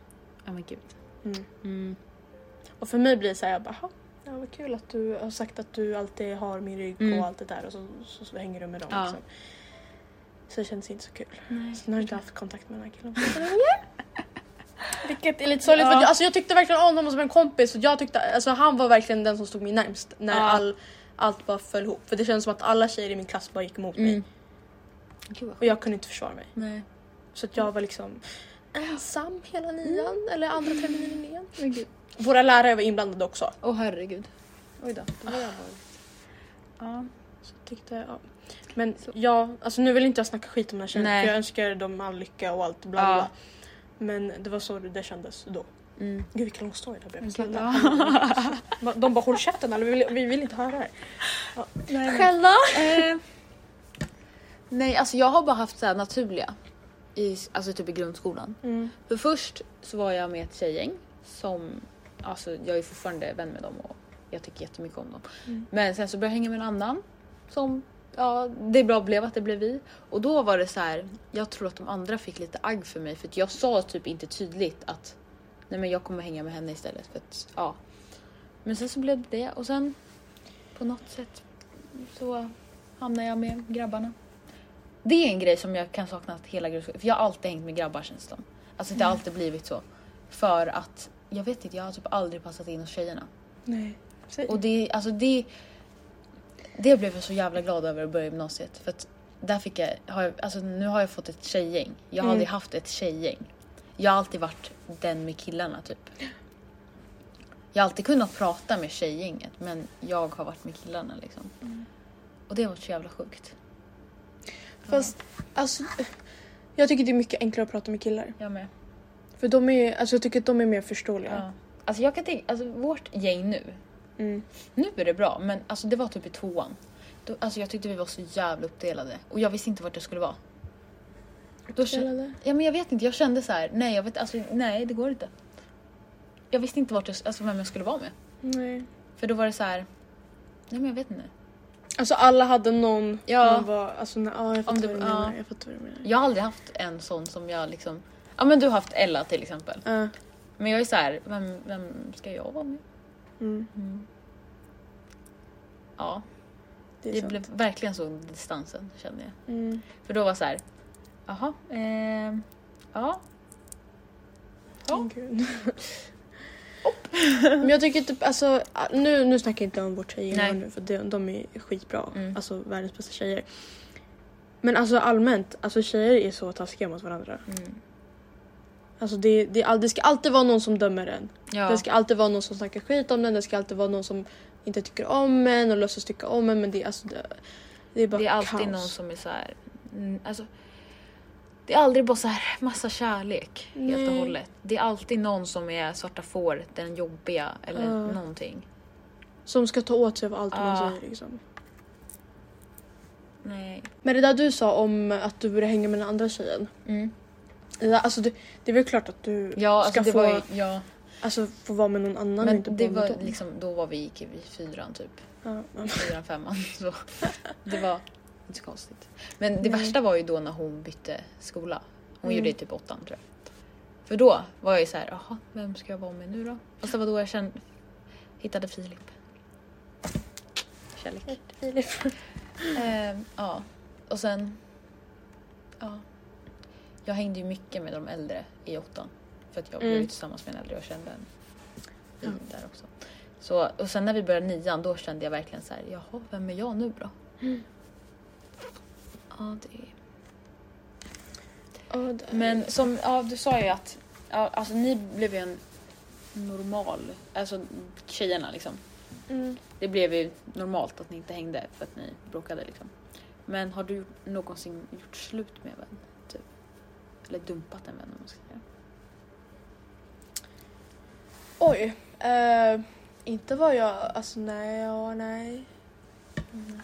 Ja men gud. Mm. Mm. Och för mig blir det så här, jag bara, "Jaha, ja, vad kul att du har sagt att du alltid har min rygg Mm. och allt det där och så, så, så hänger du med dem. Ja. Liksom. Så det känns inte så kul. Nej. Så nu har jag inte haft kontakt med den här killen på så länge. Vilket är lite sorgligt för Ja. att jag, alltså, jag tyckte verkligen om honom som en kompis och jag tyckte, alltså, han var verkligen den som stod mig närmst när Ja. all, allt bara föll ihop. För det kändes som att alla tjejer i min klass bara gick emot mig Mm. Gud vad och jag kunde inte försvara mig. Nej. Så att jag var liksom ensam hela nian Mm. eller andra terminen i nian. Men gud. Våra lärare var inblandade också. Åh herregud. Oj då. Det var allvarligt. Ja. Så tyckte, ja. Men ja, alltså nu vill inte jag snacka skit om den här tjejen Nej. för jag önskar dem all lycka och allt bla Ja. bla. Men det var så det kändes då. Mm. Gud vilken lång story det här blev. Men Snälla. gud, Ba- De bara håll käften eller vi vill, vi vill inte höra det här. Nej, men- Själva? Eh, nej, alltså jag har bara haft så här naturliga. I, alltså typ i grundskolan. Mm. För först så var jag med ett tjejgäng som, alltså jag är fortfarande vän med dem och jag tycker jättemycket om dem. Mm. Men sen så började jag hänga med en annan som, ja det bara blev att det blev vi. Och då var det så här, jag tror att de andra fick lite agg för mig för att jag sa typ inte tydligt att nej men jag kommer hänga med henne istället för att, ja. Men sen så blev det det och sen på något sätt så hamnade jag med grabbarna. Det är en grej som jag kan sakna att hela grundskolan, för jag har alltid hängt med grabbar känns det som. Alltså det har alltid blivit så. För att jag vet inte, jag har typ aldrig passat in hos tjejerna. Nej. Säg. Och det, alltså det, det blev jag så jävla glad över att börja gymnasiet. För att där fick jag, har jag alltså nu har jag fått ett tjejgäng. Jag har Mm. aldrig haft ett tjejgäng. Jag har alltid varit den med killarna typ. Jag har alltid kunnat prata med tjejgänget men jag har varit med killarna liksom. Och det var så jävla sjukt. Fast alltså jag tycker det är mycket enklare att prata med killar. Jag med. För de är, alltså jag tycker att de är mer Ja. förståeliga. Alltså jag kan tänka, alltså vårt gäng nu, Mm. Nu är det bra, men alltså det var typ i tvåan. Då, alltså jag tyckte vi var så jävla uppdelade och jag visste inte vart jag skulle vara. Då kände, Uppdelade? ja, men jag vet inte, jag kände så här, nej, jag vet, alltså, nej det går inte. Jag visste inte vart jag, alltså, vem jag skulle vara med. Nej. För då var det så här, nej men jag vet inte. Alltså alla hade någon, Ja. någon var, alltså nej, ja, jag fattar Om det- vad du ja. menar. Jag fattar vad du menar. Jag har aldrig haft en sån som jag liksom, ja men du har haft Ella till exempel. Ja. Men jag är så här, vem, vem ska jag vara med? Mm. Ja, Det är det sant. blev verkligen så distansen kände jag. Mm. För då var så här, jaha, eh, ja, Ja. Åh, gud. Men jag tycker typ alltså, nu, nu snackar jag inte om vårt tjejgäng Nej. nu för de, de är skitbra. Mm. Alltså världens bästa tjejer. Men alltså allmänt, alltså tjejer är så taskiga mot varandra. mm. Alltså det, det, är all, det ska alltid vara någon som dömer en. Ja. Det ska alltid vara någon som snackar skit om den, det ska alltid vara någon som inte tycker om en och låtsas tycka om en men det, är alltså, det, det är bara Det är alltid kaos. någon som är så här, mm, alltså, det är aldrig bara så här massa kärlek helt och Nej. hållet. Det är alltid någon som är svarta fåret, den jobbiga eller Ja. någonting. som ska ta åt sig av allt man Ah. säger liksom. Nej. Men det där du sa om att du började hänga med den andra tjejen. Mm. Det, där, alltså, det, det är väl klart att du Ja, ska alltså, det få, var ju, ja. alltså, få vara med någon annan och men inte det bara med var dem. liksom, då var vi gick i fyran typ, Ja, ja. fyran, femman. Så det var inte så konstigt. Men det Nej. värsta var ju då när hon bytte skola. Hon Mm. gjorde det typ åttan tror jag. För då var jag ju så här, jaha, vem ska jag vara med nu då? Fast det var då jag kände, hittade Filip. kärlek. Filip. Ehm, ja, och sen... Ja. Jag hängde ju mycket med de äldre i åttan. För att jag blev ju Mm. tillsammans med en äldre och kände en i där också. Så, och sen när vi började nian då kände jag verkligen så här, jaha, vem är jag nu då? Ja, det är... Ja, det- Men som ja, du sa ju att ja, alltså, ni blev ju en normal, alltså tjejerna liksom. Mm. Det blev ju normalt att ni inte hängde för att ni bråkade liksom. Men har du någonsin gjort slut med en vän? Typ? Eller dumpat en vän om man ska säga. Oj. Eh, inte vad jag... Alltså nej, ja, nej. Mm.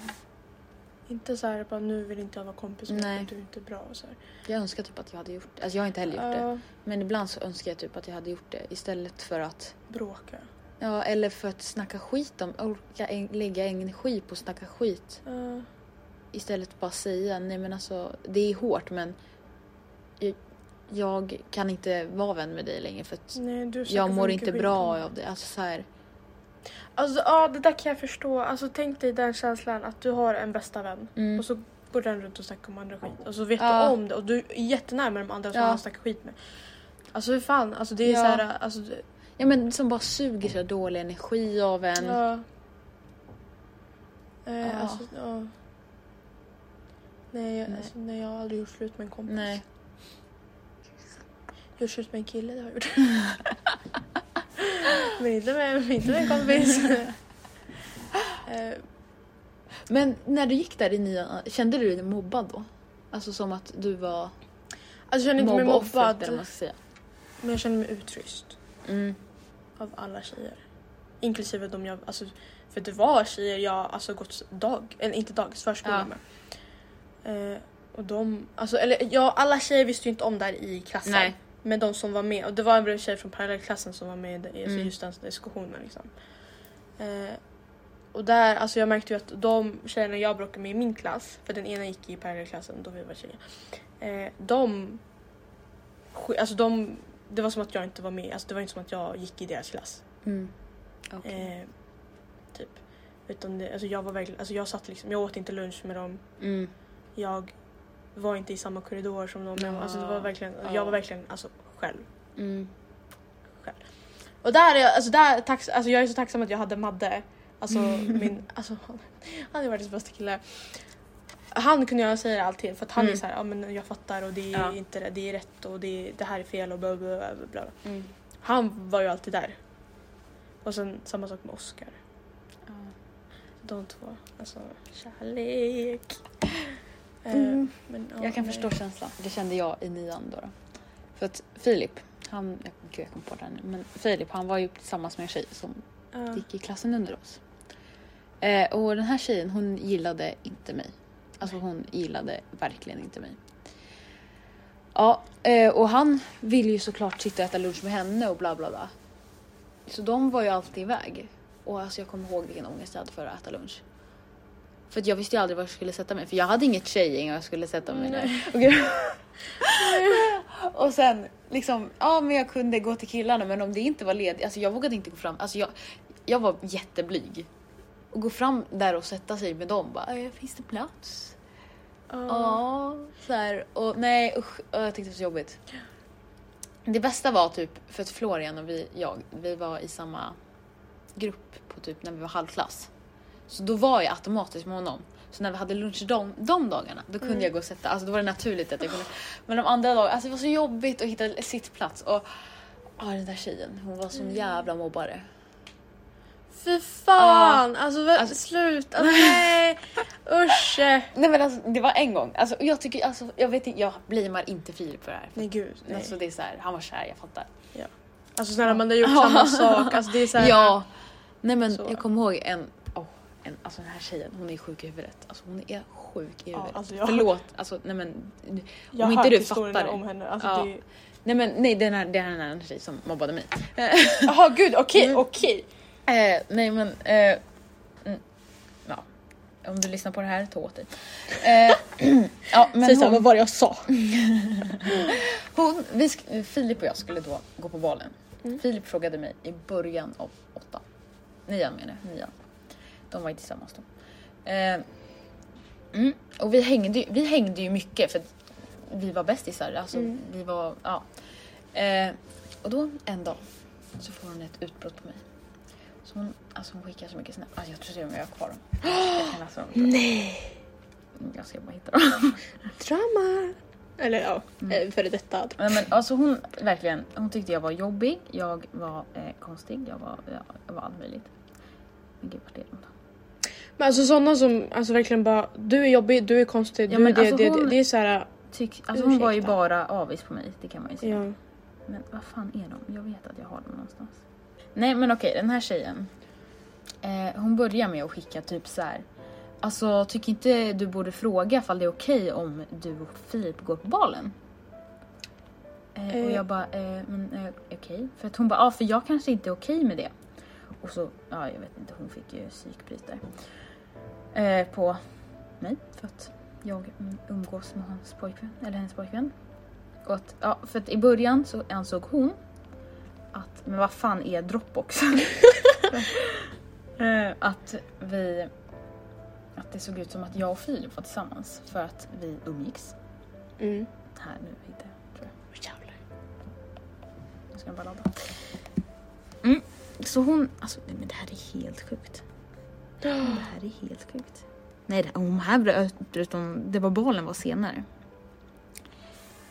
Inte så här bara nu vill inte jag vara kompis med Nej. dig, du är inte bra och så här. Jag önskar typ att jag hade gjort det. Alltså jag har inte heller gjort det. Ja, Men ibland så önskar jag typ att jag hade gjort det istället för att bråka. Ja, eller för att snacka skit om, orka en, lägga energi på att snacka skit Ja. istället för att bara säga nej men alltså det är hårt men jag, jag kan inte vara vän med dig längre för att nej, du snackar jag för mår mycket inte skit om bra mig. av det. Alltså så här, Alltså ja, det där kan jag förstå. Alltså tänk dig den känslan att du har en bästa vän mm. och så går den runt och snackar om andra skit och så vet Ja. du om det och du är jättenära med de andra som Ja. han snackar skit med. Alltså hur fan, alltså det är Ja. så här, alltså, det- Ja men som bara suger så här dålig energi av en. Ja. Eh, Ja. Alltså, ja. Nej, jag- Nej. Alltså, nej, jag har aldrig gjort slut med en kompis. Nej. Gjort slut med en kille, det har jag gjort. men inte med, inte med en kompis. Eh, Men när du gick där i nian, kände du dig mobbad då? Alltså som att du var alltså, jag känner inte mig mobboffret eller vad mobbad, man ska säga. men jag känner mig utfryst. Mm. Av alla tjejer. Inklusive de jag, alltså, för det var tjejer jag alltså gått dag, eller inte dagis, förskola Ja. med. Eh, och de, alltså eller ja, alla tjejer visste ju inte om det här i klassen. Nej. Men de som var med, och det var en tjej från parallellklassen som var med i det- alltså, Mm. just den diskussionen liksom. Eh, och där, alltså jag märkte ju att de tjejerna jag bråkade med i min klass, för den ena gick i parallellklassen då vi var tjejer. Eh, de, sk- alltså de, det var som att jag inte var med, alltså det var inte som att jag gick i deras klass. Mm. Okej. Eh, typ. Utan det, alltså jag var verkligen, alltså jag satt liksom, jag åt inte lunch med dem. Mm. Jag var inte i samma korridor som dem. Jag, alltså det var Ja. verkligen, Ah. Ja. jag var verkligen alltså själv. Mm. Och där är jag, alltså där, tack, alltså jag är så tacksam att jag hade Madde. Alltså Mm. min, alltså han, han är världens bästa kille. Han kunde jag säga allt till för att han Mm. är såhär, ja men jag fattar och det är Ja. inte rätt- det är rätt och det, är, det här är fel och bla bla bla. bla, bla. Mm. Han var ju alltid där. Och sen samma sak med Oscar. Ja. De två. Alltså, kärlek. Eh, Mm. men, ja, Jag kan nej. förstå känslan. Det kände jag i nian då. då. För att Filip, han, jag, gud jag kom på det här nu, men Filip han var ju tillsammans med en tjej som Ja. gick i klassen under oss. Eh, och den här tjejen hon gillade inte mig. Alltså hon gillade verkligen inte mig. Ja, eh, och han ville ju såklart sitta och äta lunch med henne och bla bla bla. Så de var ju alltid iväg. Och alltså jag kommer ihåg vilken ångest jag hade för att äta lunch. För att jag visste ju aldrig var jag skulle sätta mig. För jag hade inget tjejgäng och jag skulle sätta mig ner. Och gud. och sen liksom, ja men jag kunde gå till killarna men om det inte var ledigt, alltså jag vågade inte gå fram. Alltså jag, jag var jätteblyg. Och gå fram där och sätta sig med dem bara, "Eh, finns det plats? Ja. Ja, så här. Och nej usch, och jag tyckte det var så jobbigt. Det bästa var typ, för att Florian och vi, jag, vi var i samma grupp på typ när vi var halvklass. Så då var jag automatiskt med honom. Så när vi hade lunch de, de dagarna, då kunde Mm. jag gå och sätta, alltså då var det naturligt att jag kunde. Men de andra dagarna, alltså det var så jobbigt att hitta sittplats. Och ah, den där tjejen, hon var Mm. som jävla mobbare. Fy fan! Alltså, vä- Alltså- sluta! Nej! Usch! Nej men alltså det var en gång. Alltså, jag tycker, alltså, jag vet inte, jag blamear inte Filip för det här. Nej gud. Nej. Alltså Alltså, det är så här, han var kär, jag fattar. snälla man har gjort samma sak. Alltså, det är så här, Ja. Nej men Så. jag kommer ihåg en, åh, en, alltså den här tjejen, hon är sjuk i huvudet. Alltså hon är sjuk i Ja, huvudet. alltså, jag- Förlåt, alltså nej men. jag om har inte hört du historierna fattar det. om henne. Alltså, Ja. det är... Nej men nej, det är den här, det är den här tjejen som mobbade mig. Jaha gud, okej, Mm. okej. Eh, nej men, eh, mm, ja. Om du lyssnar på det här, ta åt dig. Eh, ja, men Säg så här, hon- vad var det jag sa? Hon, vi sk- Filip och jag skulle då gå på balen. Mm. Filip frågade mig i början av åtta. Nian menar jag, nian. De var ju tillsammans då. Eh, mm, och vi hängde, ju- vi hängde ju mycket för att vi var bästisar. Alltså, Mm. vi var, ja. eh, och då en dag så får hon ett utbrott på mig. Så hon, alltså hon skickar så mycket snabbt. Alltså, jag tror till och med jag har kvar dem. Jag kan läsa dem. Nej! Jag ska bara hitta dem. Drama! Eller ja, eh, före detta. Nej, men alltså hon verkligen, hon tyckte jag var jobbig, jag var eh, konstig, jag var, ja, jag var allt möjligt. Men gud vart är de då? Men alltså sådana som alltså verkligen bara, du är jobbig, du är konstig, Ja, du är men det, alltså det, det, hon- det är såhär, Tyck, alltså hon var ju Ursäkta. bara avis på mig, det kan man ju säga. ja. Men vad fan är de? Jag vet att jag har dem någonstans. Nej men okej, den här tjejen. Eh, hon börjar med att skicka typ så här. Alltså tycker inte du borde fråga ifall det är okej om du och Filip går på balen? Eh, och Eh. jag bara, eh, men eh, okej? För att hon bara, ja ah, för jag kanske inte är okej med det. Och så, ja jag vet inte, hon fick ju psykbryt där. Eh, på mig för att jag mm, umgås med hans pojkvän, eller hennes pojkvän. Och att, ja, för att i början så ansåg hon att, men vad fan är Dropbox? Eh, att vi, att det såg ut som att jag och Filip var tillsammans för att vi umgicks. Mm. Här nu hittade jag, tror jag. Jävlar. Nu ska jag bara ladda. Mm. Så hon, alltså nej, men det här är helt sjukt. Det här är helt sjukt. Nej, det, hon här bröt, utom, det var balen var senare.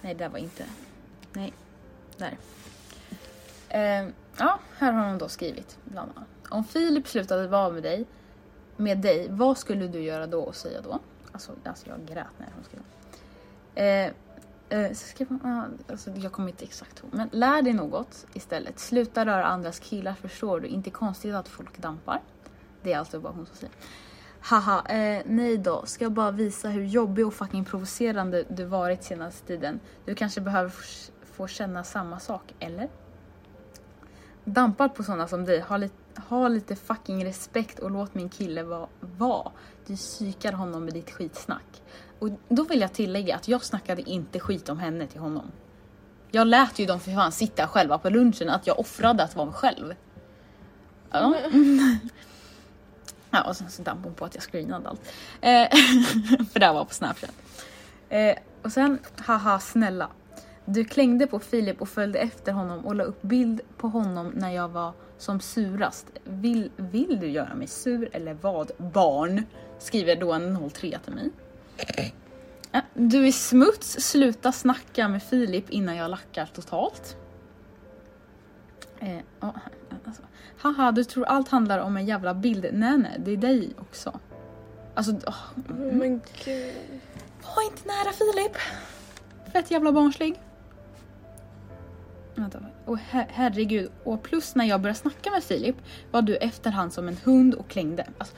Nej, det där var inte. Nej, där. Eh, ja, här har hon då skrivit bland annat. Om Filip slutade vara med dig, med dig, vad skulle du göra då och säga då? Alltså, alltså jag grät när hon skrev. Eh, Eh, så skrev hon, ah, alltså, jag kommer inte exakt ihåg. Men lär dig något istället. Sluta röra andras killar förstår du. Inte konstigt att folk dampar. Det är alltså bara hon som säger. Haha, eh, nej då. Ska bara visa hur jobbig och fucking provocerande du varit senaste tiden. Du kanske behöver f- få känna samma sak, eller? Dampar på sådana som dig. Ha, li- ha lite fucking respekt och låt min kille vara. Va. Du psykar honom med ditt skitsnack. Och då vill jag tillägga att jag snackade inte skit om henne till honom. Jag lät ju dem för fan sitta själva på lunchen, att jag offrade att vara mig själv. Ja. ja och sen så damp hon på att jag screenade allt. Eh, för det här var på Snapchat. Eh, och sen, haha snälla. Du klängde på Filip och följde efter honom och la upp bild på honom när jag var som surast. Vill, vill du göra mig sur eller vad? Barn? Skriver då en 03 till mig. Ja, Du är smuts, sluta snacka med Filip innan jag lackar totalt. Eh, ja, alltså. Haha, du tror allt handlar om en jävla bild. Nej, nej, det är dig också. Alltså, åh, Mm. Men gud. var inte nära Filip. Fett jävla barnslig. Vänta. Och her- herregud. Och plus när jag började snacka med Filip var du efter han som en hund och klängde. Alltså,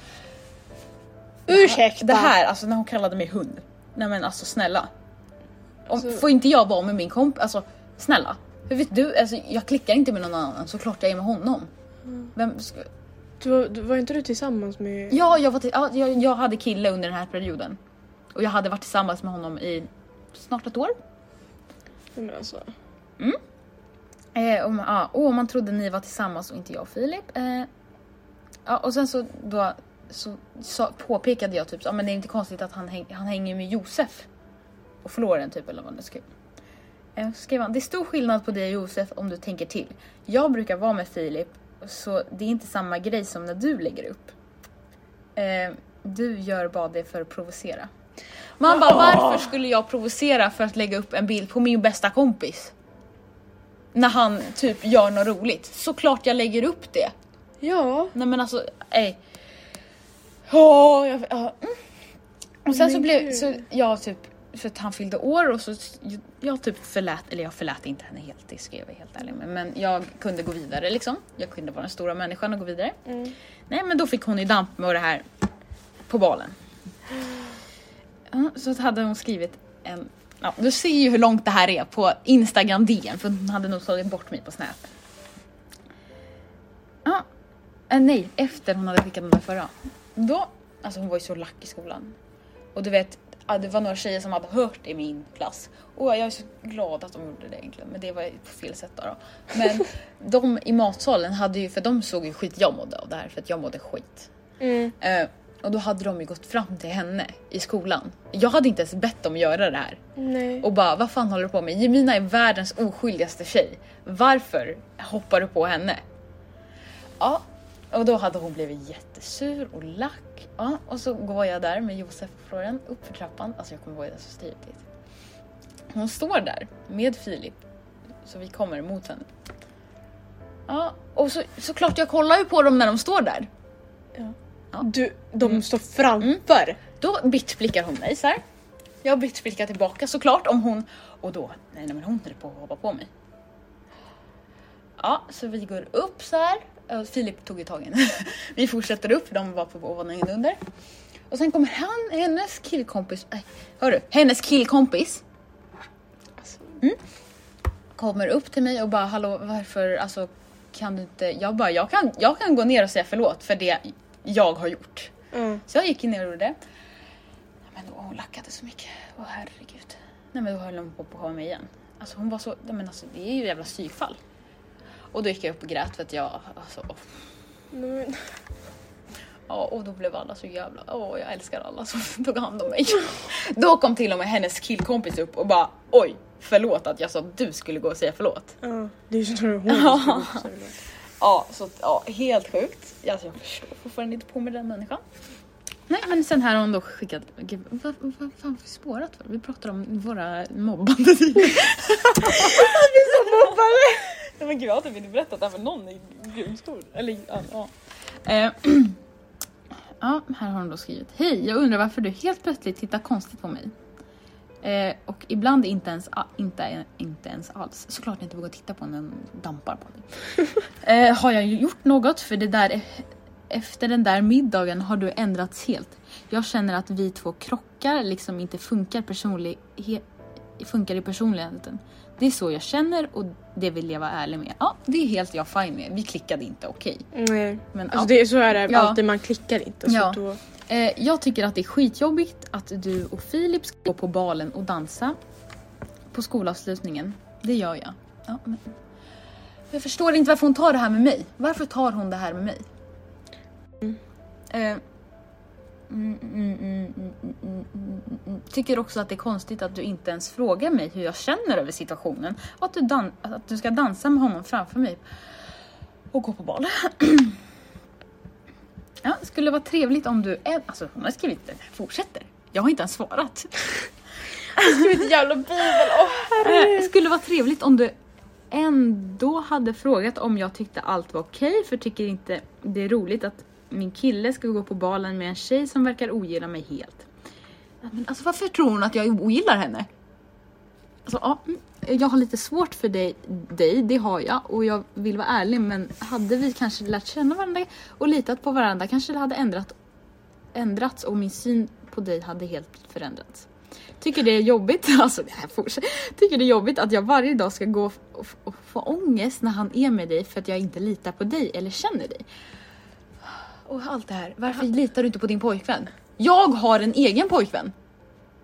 Ursäkta! det här, alltså när hon kallade mig hund. Nej men alltså snälla. Om, Alltså- Får inte jag vara med min kompis? Alltså snälla. Hur vet du? Alltså, jag klickar inte med någon annan såklart jag är med honom. Mm. Vem ska... Du, var- du, var inte du tillsammans med... Ja, jag, var till, ja jag, jag hade kille under den här perioden. Och jag hade varit tillsammans med honom i snart ett år. Men alltså. Eh, om, ja, och man trodde ni var tillsammans och inte jag och Filip. Eh, ja, och sen så, då, så, sa- påpekade jag typ så, ah, men det är inte konstigt att han, häng, han hänger med Josef och Florian typ eller vad det skrev. Eh, så skrev han, det är stor skillnad på dig och Josef om du tänker till. Jag brukar vara med Filip så det är inte samma grej som när du lägger upp. Eh, du gör bara det för att provocera. Man bara varför skulle jag provocera för att lägga upp en bild på min bästa kompis? när han typ gör något roligt. Såklart jag lägger upp det. Ja. Nej men alltså, ej. Åh, jag, ja. mm. Och sen Men så blev gud. så jag typ, för att han fyllde år och så jag typ förlät, eller jag förlät inte henne helt, det ska jag vara helt ärlig med. Men jag kunde gå vidare liksom. Jag kunde vara den stora människan och gå vidare. Mm. Nej men då fick hon ju damp med det här på balen. Ja, Så hade hon skrivit en, ja du ser ju hur långt det här är på Instagram DM för hon hade nog tagit bort mig på Snap. Ja, Eh, nej, efter hon hade skickat den där förra. Då, alltså hon var ju så lack i skolan. Och du vet, ja, det var några tjejer som hade hört i min klass. Och jag är så glad att de gjorde det egentligen, men det var ju på fel sätt då. då. Men de i matsalen hade ju, för de såg ju skit jag mådde av det här, för att jag mådde skit. Eh, Och då hade de ju gått fram till henne i skolan. Jag hade inte ens bett dem göra det här. Nej. Och bara, vad fan håller du på med? Jemina är världens oskyldigaste tjej. Varför hoppar du på henne? Ja, och då hade hon blivit jättesur och lack. Ja, och så går jag där med Josef och Florian upp för trappan. Alltså jag kommer ihåg det så tydligt. Hon står där med Filip. Så vi kommer mot henne. Ja, och så, såklart jag kollar ju på dem när de står där. Du, de Mm. står framför. Då bitblickar hon mig så här. Jag bitblickar tillbaka såklart om hon... Och då, nej, nej men hon höll på att hoppa på mig. Ja, så vi går upp så här. Ja, Filip tog ju tag i henne. vi fortsätter upp, för de var på våningen under. Och sen kommer han, hennes killkompis, nej, hörru, hennes killkompis. Mm. Kommer upp till mig och bara, hallå varför, alltså kan du inte, jag bara, jag kan, jag kan gå ner och säga förlåt för det jag har gjort. Mm. Så jag gick ner och gjorde det. Ja, Men då, hon lackade så mycket. Åh herregud. Nej men då höll hon på att ha mig igen. Alltså hon var så, nej, men alltså det är ju ett jävla psykfall. Och då gick jag upp och grät för att jag, alltså, åh. Nej, men- ja, och då blev alla så jävla, åh jag älskar alla som tog hand om mig. då kom till och med hennes killkompis upp och bara, oj förlåt att jag sa att du skulle gå och säga förlåt. Ja, det är ju snarare hon som står upp, så det låter. Ja, så att, ja, helt sjukt. Alltså, jag förstår fortfarande inte på med den människan. Nej, men sen här har hon då skickat... Gud, vad, vad fan har vi spårat för? Vi pratar om våra mobbande sidor. vi är så mobbade! Nej, men gud, jag har typ inte berättat det här för någon i grundskolan. Eller ja. ja. Eh, ja, här har hon då skrivit. Hej, jag undrar varför du helt plötsligt tittar konstigt på mig. Eh, och ibland inte ens, a- inte, inte ens alls. Såklart jag inte vågar titta på när den dampar på dig. Eh, har jag gjort något? För det där, efter den där middagen har du ändrats helt. Jag känner att vi två krockar, liksom inte funkar, personlig, he, funkar i personligheten. Det är så jag känner och det vill jag vara ärlig med. Ja, det är helt jag fine med. Vi klickade inte, okej. Nej. Men, Alltså ja. det är så är det Ja. alltid, man klickar inte. Så Ja. då, Eh, jag tycker att det är skitjobbigt att du och Filip ska gå på balen och dansa på skolavslutningen. Det gör jag. Ja, men... Jag förstår inte varför hon tar det här med mig. Varför tar hon det här med mig? Eh, Mm, mm, mm, mm, mm, mm, mm, mm. Tycker också att det är konstigt att du inte ens frågar mig hur jag känner över situationen. Och att du, dan- att du ska dansa med honom framför mig och gå på bal. Ja, det skulle vara trevligt om du... Ä- alltså hon har skrivit det. Fortsätter. Jag har inte ens svarat. Skrivit jävla bibel, åh Det skulle vara trevligt om du ändå hade frågat om jag tyckte allt var okej för tycker inte det är roligt att min kille ska gå på balen med en tjej som verkar ogilla mig helt. Ja, Men alltså varför tror hon att jag ogillar henne? Alltså, ja, mm, jag har lite svårt för dig, dig, det har jag och jag vill vara ärlig men hade vi kanske lärt känna varandra och litat på varandra kanske det hade ändrat, ändrats och min syn på dig hade helt förändrats. Tycker det är jobbigt, alltså det här fortsätter. Tycker det är jobbigt att jag varje dag ska gå och, f- och få ångest när han är med dig för att jag inte litar på dig eller känner dig. Och allt det här, varför litar du inte på din pojkvän? Jag har en egen pojkvän!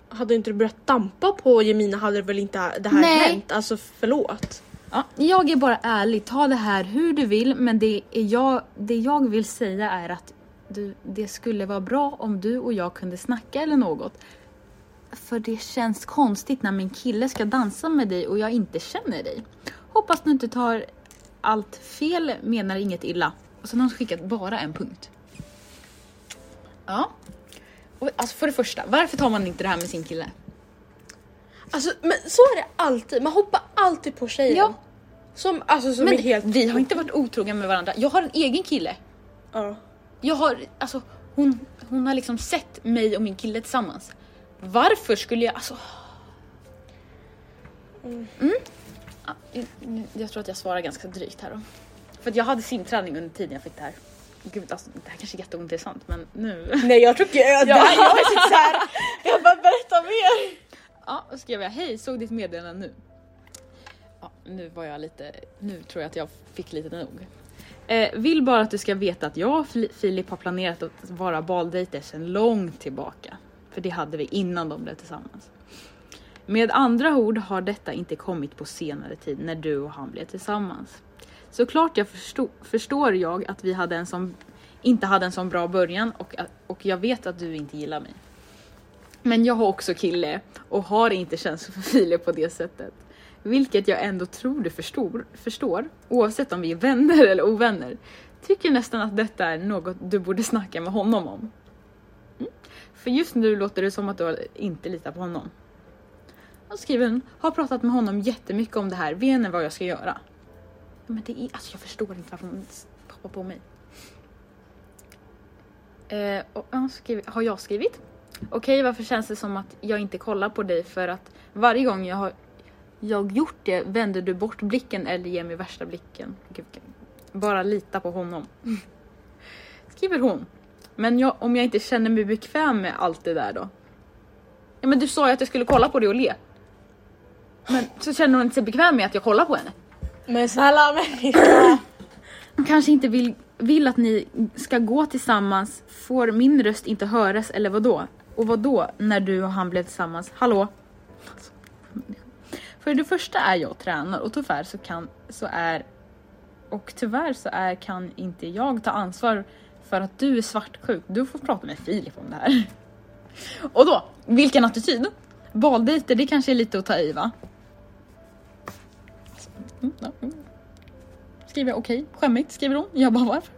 Hade inte du börjat dampa på Jemina hade väl inte det här Nej. hänt? Alltså förlåt. Ja, jag är bara ärlig, ta det här hur du vill men det, är jag, det jag vill säga är att du, det skulle vara bra om du och jag kunde snacka eller något. För det känns konstigt när min kille ska dansa med dig och jag inte känner dig. Hoppas du inte tar allt fel, menar inget illa. Och sen har hon skickat bara en punkt. Ja. Och, alltså för det första, varför tar man inte det här med sin kille? Alltså men så är det alltid, man hoppar alltid på tjejen. Ja. Som, alltså, som Men är helt... vi har inte varit otrogna med varandra. Jag har en egen kille. Ja. Jag har, alltså hon, hon har liksom sett mig och min kille tillsammans. Varför skulle jag, alltså... Mm. Ja, jag- Jag tror att jag svarar ganska drygt här då. För att jag hade simträning under tiden jag fick det här. Gud, alltså, det här kanske är jätteointressant men nu... Nej jag tror inte... Ja. Det här, jag sitter såhär, jag bara berätta mer. Ja, och skrev jag hej, såg ditt meddelande nu. Ja, nu var jag lite, nu tror jag att jag fick lite nog. Eh, vill bara att du ska veta att jag och Fili- Filip har planerat att vara baldejter sedan långt tillbaka. För det hade vi innan de blev tillsammans. Med andra ord har detta inte kommit på senare tid när du och han blev tillsammans. Såklart jag förstod, förstår jag att vi hade en sån inte hade en sån bra början och, och jag vet att du inte gillar mig. Men jag har också kille och har inte känslor för Filip på det sättet. Vilket jag ändå tror du förstår, förstår, oavsett om vi är vänner eller ovänner. Tycker nästan att detta är något du borde snacka med honom om. Mm. För just nu låter det som att du inte litar på honom. Och skriver hon, har pratat med honom jättemycket om det här, vet ni vad jag ska göra? Ja, Men det är, alltså jag förstår inte varför hon hoppar på mig. Eh, och han skriver, har jag skrivit? Okej, varför känns det som att jag inte kollar på dig för att varje gång jag har jag gjort det vänder du bort blicken eller ger mig värsta blicken. Gud, bara lita på honom. Skriver hon. Men jag, om jag inte känner mig bekväm med allt det där då? Ja men du sa ju att jag skulle kolla på det och le. Men så känner hon inte sig bekväm med att jag kollar på henne. Men snälla Amerika! Hon kanske inte vill, vill att ni ska gå tillsammans, får min röst inte höras eller vad då? Och vad då när du och han blev tillsammans? Hallå? Alltså, För det första är jag tränare och tyvärr så kan, så är och tyvärr så är, kan inte jag ta ansvar för att du är svartsjuk. Du får prata med Filip om det här. Och då, vilken attityd! Baldejter, det kanske är lite att ta i va? Mm, ja, mm. Skriver jag okej, skämmigt skriver hon. Jag bara varför?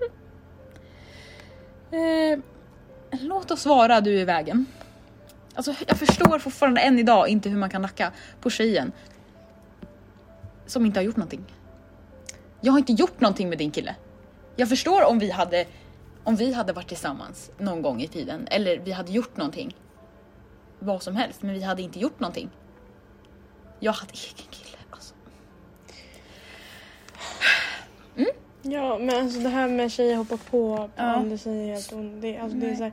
Eh, låt oss vara du är i vägen. Alltså jag förstår fortfarande än idag inte hur man kan nacka på tjejen. Som inte har gjort någonting. Jag har inte gjort någonting med din kille. Jag förstår om vi hade, om vi hade varit tillsammans någon gång i tiden eller vi hade gjort någonting. Vad som helst, men vi hade inte gjort någonting. Jag hade egen kille alltså. ja men alltså det här med tjejer hoppar på, på Ja. andra tjejer. att hon- Det, alltså, det är Nej. så här,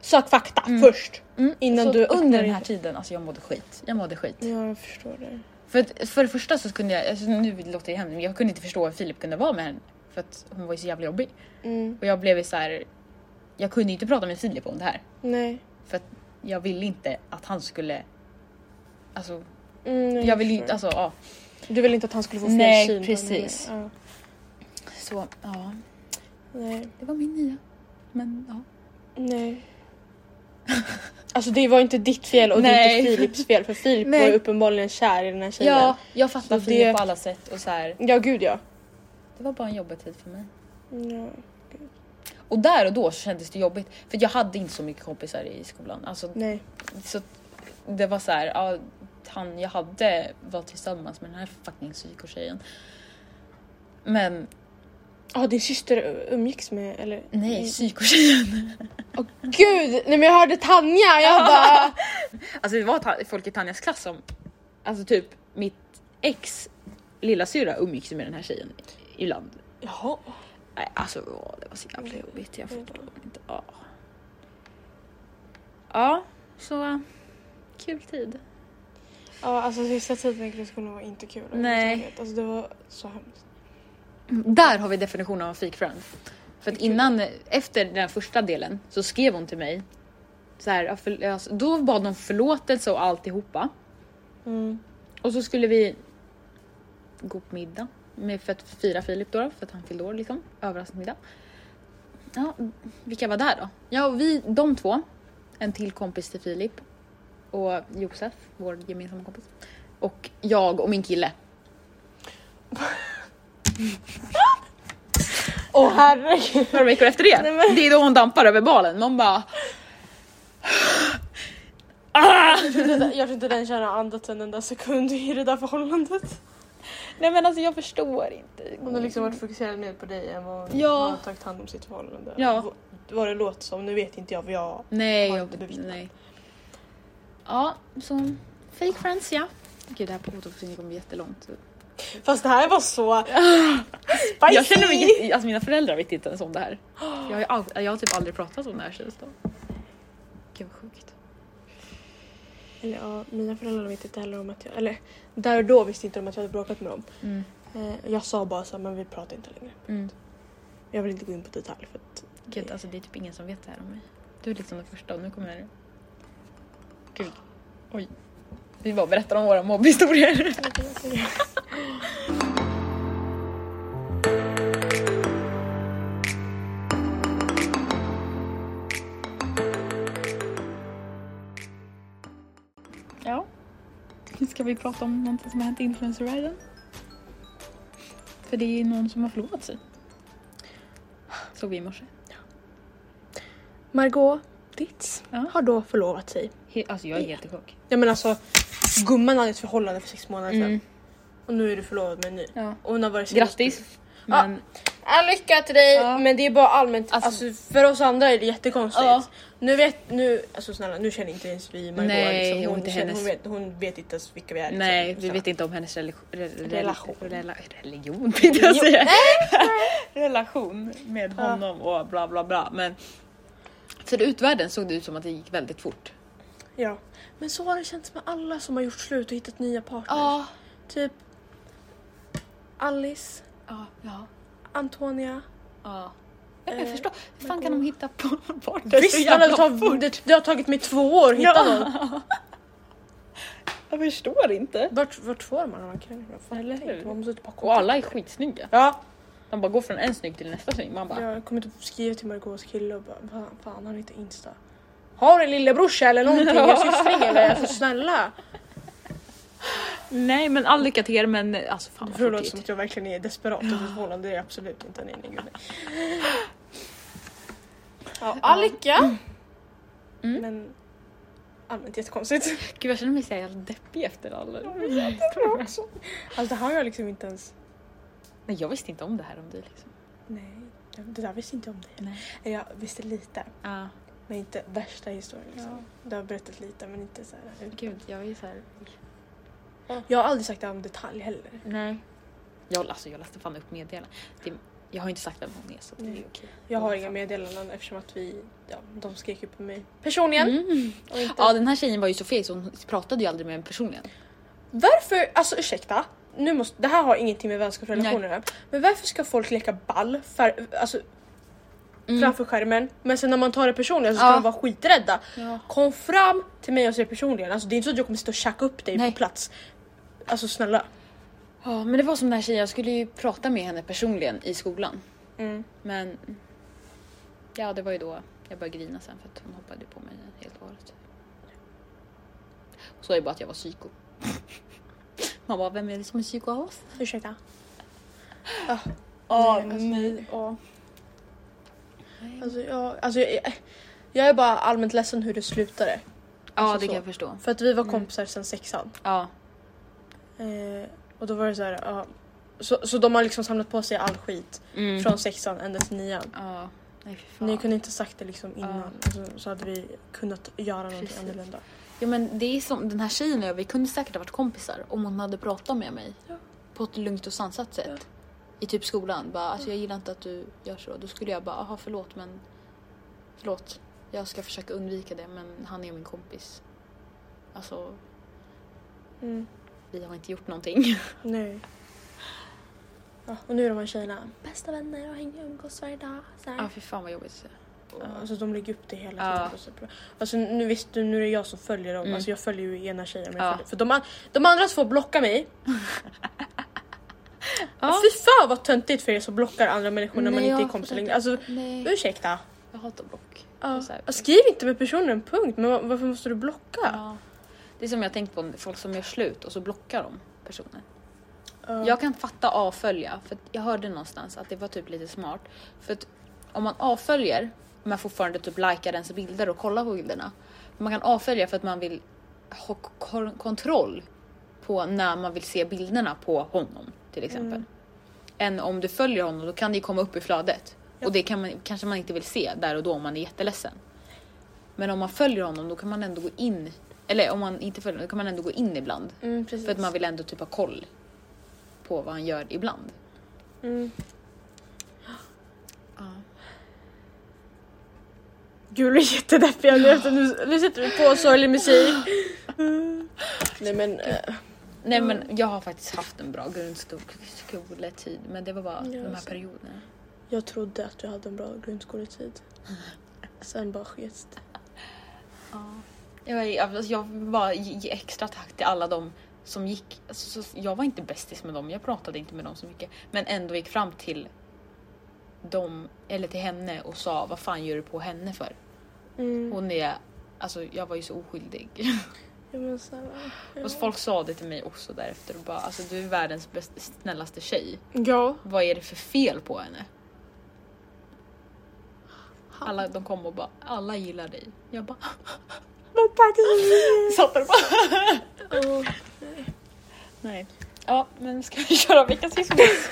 sök fakta först. Mm, Innan så du öppnar under den här in- tiden, alltså jag mådde skit. Jag mådde skit. Ja jag förstår det. För, att- för det första så kunde jag, alltså nu låter det hemskt, men jag kunde inte förstå hur Filip kunde vara med henne. För att hon var ju så jävla jobbig. Mm. Och jag blev ju så här. jag kunde ju inte prata med Filip om det här. Nej. För att jag ville inte att han skulle... Alltså, Mm, nej, jag ville ju förstår. inte... Alltså, ja. Du ville inte att han skulle få fel Nej, syn på henne. precis. Ja, Så, ja. nej, Det var min nya. Men, ja. nej. Alltså det var inte ditt fel och det är Nej. inte Filips fel för Filip Nej. var ju uppenbarligen kär i den här tjejen. Ja, jag fattar Så Filip det- på alla sätt och så här. Ja gud ja. Det var bara en jobbig tid för mig. ja. Och där och då så kändes det jobbigt. För jag hade inte så mycket kompisar i skolan. Alltså, Nej. Så att det var så här, ja, han jag hade var tillsammans med den här fucking psykotjejen. Men Ja din syster umgicks med eller? nej, psykotjejen. Gud! Nej men jag hörde Tanja jag bara... Alltså det var ta- folk i Tanjas klass som, alltså typ mitt ex lilla syra umgicks ju med den här tjejen ibland. Jaha. Nej, alltså åh, det var så jävla jobbigt. Jag förstår inte. Ja. ja, så eh, kul tid. Ja alltså sista tiden i grundskolan var inte kul. Nej. överhuvudtaget. Alltså det var så hemskt. Där har vi definitionen av en fake friend. För att innan, efter den första delen så skrev hon till mig. Så här, ja, för, alltså, då bad hon förlåtelse och alltihopa. Mm. Och så skulle vi gå på middag. Med, för att fira Filip då, för att han fyllde år liksom. Överraskningsmiddag. Ja, vilka var där då? Ja, och vi, de två. En till kompis till Filip. Och Josef, vår gemensamma kompis. Och jag och min kille. Åh herregud. några veckor efter det. Nej, men- Det är då hon dampar över balen. Man bara... Ah! Jag tror inte den tjejen har andats en enda sekund i det där förhållandet. Nej men alltså jag förstår inte. Hon har liksom varit fokuserad mer på dig än vad hon Ja. hon har tagit hand om sitt förhållande. Ja. V- Vad det låter som, nu vet inte jag vad jag... Nej, Har jag, inte bevittnat. nej. Ja, så fake friends ja. Gud det här återföreningen kommer bli jättelångt. Fast det här var så... spicy! Jag känner mig jätte- alltså mina föräldrar vet inte ens om det här. Jag har, ju all, jag har typ aldrig pratat om det här känns det som. Gud vad sjukt. Eller ja, mina föräldrar vet inte heller om att jag... Eller där och då visste inte de att jag hade bråkat med dem. Mm. Eh, Jag sa bara så här, men vi pratar inte längre. Mm. Jag vill inte gå in på detalj för att... Gud alltså det är typ ingen som vet det här om mig. Du är liksom den första och nu kommer jag... Gud. Oj. Vi bara berättar om våra mobbhistorier. Ja. Nu ska vi prata om någonting som har hänt i influencervärlden. För det är ju någon som har förlovat sig. Såg vi i morse. Margot Ditz Ja. har då förlovat sig. He- alltså jag är helt i chock. Ja men alltså, gumman hade ett förhållande för sex månader sedan. Mm. Och nu är du förlovad med en ny. Ja. Och hon har varit singelfri. Grattis! Ah. Men Ja, lycka till dig! Ja. Men det är bara allmänt, alltså, Alltså- för oss andra är det jättekonstigt. Ja. Nu vet, nu, alltså snälla nu känner inte ens vi Margot. Nej, liksom. och inte känner- hennes. hon, vet, hon vet inte ens vilka vi är. liksom. nej, vi Snälla. vet inte om hennes Alltså, relation... Re- Relation. Rela, religion tänkte jag Jo, säga. relation med Ja. honom och bla bla bla. Men för utvärlden såg det ut som att det gick väldigt fort. Ja. Men så har det känts med alla som har gjort slut och hittat nya partners. Ja. Typ Alice, Ja. Ah, ja. Antonia. ja. Jag Eh, förstår. Hur fan men kan då- de hitta på bort det Visst, det, har- det, det har tagit mig två år att hitta Ja. någon. Jag förstår inte. Vart, vart får man dem? Man får Eller inte. hur? Man måste typ ha koll. Och alla är skitsnygga. Ja, De bara går från en snygg till nästa snygg. Man bara... jag kommer typ skriva till Margaux kille och bara fan, fan har ni inte Insta? Har en lillebrorsa eller någonting? Eller syster eller? Alltså snälla! Nej men all lycka till er men alltså fan Det vad får låta tråkigt. som att jag verkligen är desperat i ett förhållande. Det är jag absolut inte. Nej, nej, gud, nej. Ja, all lycka! Mm. Men allmänt jättekonstigt. Gud jag känner mig så jävla deppig efter alla. Alltså det här har jag liksom inte ens... Men jag visste inte om det här om dig liksom. Nej, det där visste inte jag om dig. Nej. Eller Jag visste lite, Ja, men inte värsta historien. Liksom. Du har berättat lite, men inte så här. gud jag är såhär... Jag har aldrig sagt det här om detalj heller. Nej. Jag, alltså jag läste fan upp meddelandet. Det- Jag har inte sagt vem hon är så det är Nej. okej. Mm. Jag har Ja, inga fan. meddelanden eftersom att vi, ja, de skrek ju på mig personligen. Mm. Och inte... Ja den här tjejen var ju så feg så hon pratade ju aldrig med en personligen. Varför, alltså ursäkta, nu måste, det här har ingenting med vänskapsrelationer att göra. Men varför ska folk leka ball för, alltså, framför skärmen men sen när man tar det personligen så ska Mm. Ja. de vara skiträdda. Ja. Kom fram till mig och säg personligen, alltså, det är inte så att jag kommer sitta och tjacka upp dig Nej. på plats. Alltså snälla. Ja men det var som den här tjejen, jag skulle ju prata med henne personligen i skolan. Mm. Men ja, det var ju då jag började grina sen för att hon hoppade på mig helt och hållet. Och sa ju bara att jag var psyko. Man bara, vem är det som är psyko av oss? Ursäkta. Ja, Ah, Nej, alltså, nej. ja. Alltså, jag, alltså, jag, jag är bara allmänt ledsen hur det slutade. Ja, det så. kan jag förstå. För att vi var Mm. kompisar sen sexan. Alltså Ja, Eh, och då var det så här, ja. Så, så de har liksom samlat på sig all skit mm. från sexan ända till nian. ja. nej fy fan. Ni kunde inte sagt det liksom innan så, så hade vi kunnat göra någonting Precis. annorlunda. Ja, men det är som den här tjejen och jag, vi kunde säkert ha varit kompisar om hon hade pratat med mig Ja. på ett lugnt och sansat sätt. I typ skolan, bara alltså jag gillar inte att du gör så. Då skulle jag bara, jaha förlåt men förlåt. Jag ska försöka undvika det men han är min kompis. Alltså Mm. vi har inte gjort någonting. Nej. Ja, och nu är de här tjejerna bästa vänner och hänger och umgås varje dag. Så här. Ja ah, fy fan vad jobbigt. Ja, Alltså de lägger upp det hela Ja. tiden. på sitt program. Alltså nu visst, nu är det jag som följer dem. Mm. Alltså jag följer ju ena tjejen. Men Ja. jag följer, för de, an- de andra två blockar mig. Alltså, Ja. Fy fan vad töntigt för er som blockar andra människor när man Nej, inte är jag kompisar fattar längre. inte. Alltså Nej, ursäkta. jag hatar block. Ja. alltså, Så här- Ja, Skriv inte med personen, punkt. Men va- varför måste du blocka? Ja. Det är som jag tänkt på folk som gör slut och så blockar de personen. Ja. Jag kan fatta avfölja, för att jag hörde någonstans att det var typ lite smart. För att om man avföljer, men fortfarande typ likar ens bilder och kollar på bilderna. Man kan avfölja för att man vill ha k- kon- kontroll på när man vill se bilderna på honom till exempel. Än om du följer honom, då kan det ju komma upp i flödet. Och det kan man, kanske man inte vill se där och då om man är jätteledsen. Men om man följer honom, då kan man ändå gå in. Eller om man inte följer honom, då kan man ändå gå in ibland. Mm, precis. För att man vill ändå typ ha koll på vad han gör ibland. mm. Ja. Gud, vi är jättedeppiga nu. efter- Nu, nu sätter vi på sorglig musik. Mm. Nej men... eh, Nej men jag har faktiskt haft en bra grundskoletid men det var bara Ja, de här så. perioderna. Jag trodde att du hade en bra grundskoletid. Sen bara skets det. Jag, jag, alltså, jag bara ge ge extra tack till alla de som gick, alltså, så, jag var inte bästis med dem, jag pratade inte med dem så mycket men ändå gick fram till dem, eller till henne och sa vad fan gör du på henne för? Mm. Hon är, alltså jag var ju så oskyldig. Ja, men så här, ah, Och så Alltså, folk sa det till mig också därefter och bara alltså du är världens bäst, snällaste tjej. ja. Vad är det för fel på henne? Alla, de kom och bara alla gillar dig. Jag bara Men tack så mycket. satt där och bara Åh, nej. Ja men ska vi köra veckans hissgoss?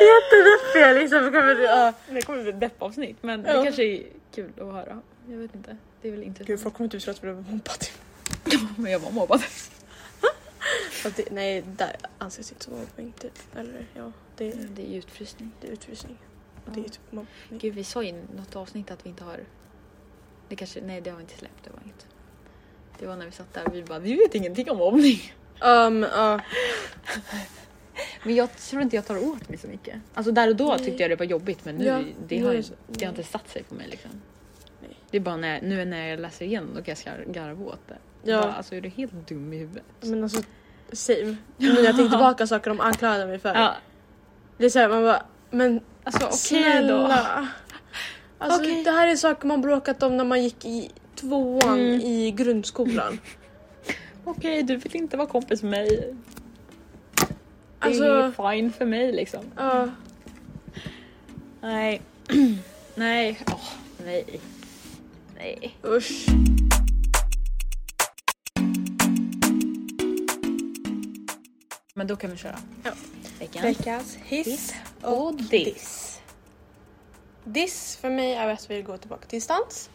Jättedeppiga liksom. Kommer du, ja. Det kommer bli ett deppavsnitt men Ja. det kanske är kul att höra. Jag vet inte. Det är väl inte Gud folk kommer typ tro att vi blev mobbade. men jag var mobbad. Fast det, nej, där anses inte som mobbning typ. Eller ja, det, Det är utfrysning. det är utvisning. Och Ja. det är typ mobbning. Gud vi sa ju i något avsnitt att vi inte har... Det kanske, nej det har vi inte släppt, det var inget. Det var när vi satt där vi bara vi vet ingenting om mobbning. Um, ja. Men jag tror inte jag tar åt mig så mycket. Alltså där och då Nej. tyckte jag det var jobbigt men nu Ja, det, nu har, är det det, så- har inte satt sig på mig liksom. Nej. Det är bara när, nu när jag läser igen då kan jag skar- garva åt det. Ja. Bara, alltså är du helt dum i huvudet? men alltså same. Nu när jag tänker tillbaka saker de anklagade mig för. Ja. Det är såhär man bara, men Alltså okej då. snälla. Alltså Okej. det här är saker man bråkat om när man gick i tvåan Mm. i grundskolan. Okej du vill inte vara kompis med mig. Det Alltså, är fine för mig liksom. ja. Nej. nej. Åh, nej. Nej. usch. Men då kan vi köra. Ja. Veckan. Veckans hiss Hiss och diss. Diss för mig är att vi går tillbaka till distans.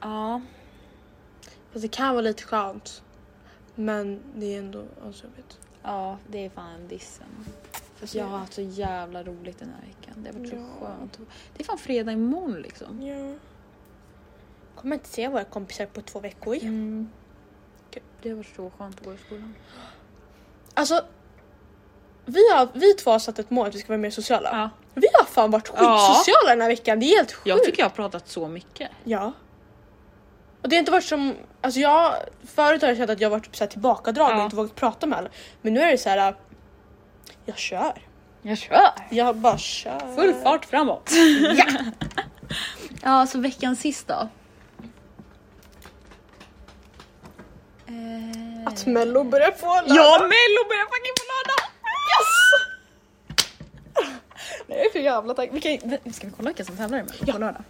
Ja. Fast det kan vara lite skönt. Men det är ändå asjobbigt. ja, det är fan dissen. Fast jag har haft så jävla roligt den här veckan. Det har varit så Ja. skönt. Det är fan fredag imorgon liksom. Ja. Kommer inte se våra kompisar på två veckor. Mm. Gud, Det har varit så skönt att gå i skolan. Alltså, vi, har, vi två har satt ett mål att vi ska vara mer sociala. Ja. Vi har fan varit skitsociala den här veckan, det är helt sjukt. Jag tycker jag har pratat så mycket. Ja. Och det har inte varit som, alltså jag, förut har jag känt att jag varit typ så här tillbakadragen Ja. och inte vågat prata med alla. Men nu är det så här. äh, jag kör. Jag kör! Jag bara kör. Full fart framåt. Eh, ja. ja, så veckans sist då. Eh, Att mello börjar på alla. Ja, Mello börjar fucking på lördag! Yes! Nej, jag är för jävla taggad. Vi kan- vi- Ska vi kolla vilka som tävlar i Mello på lördag?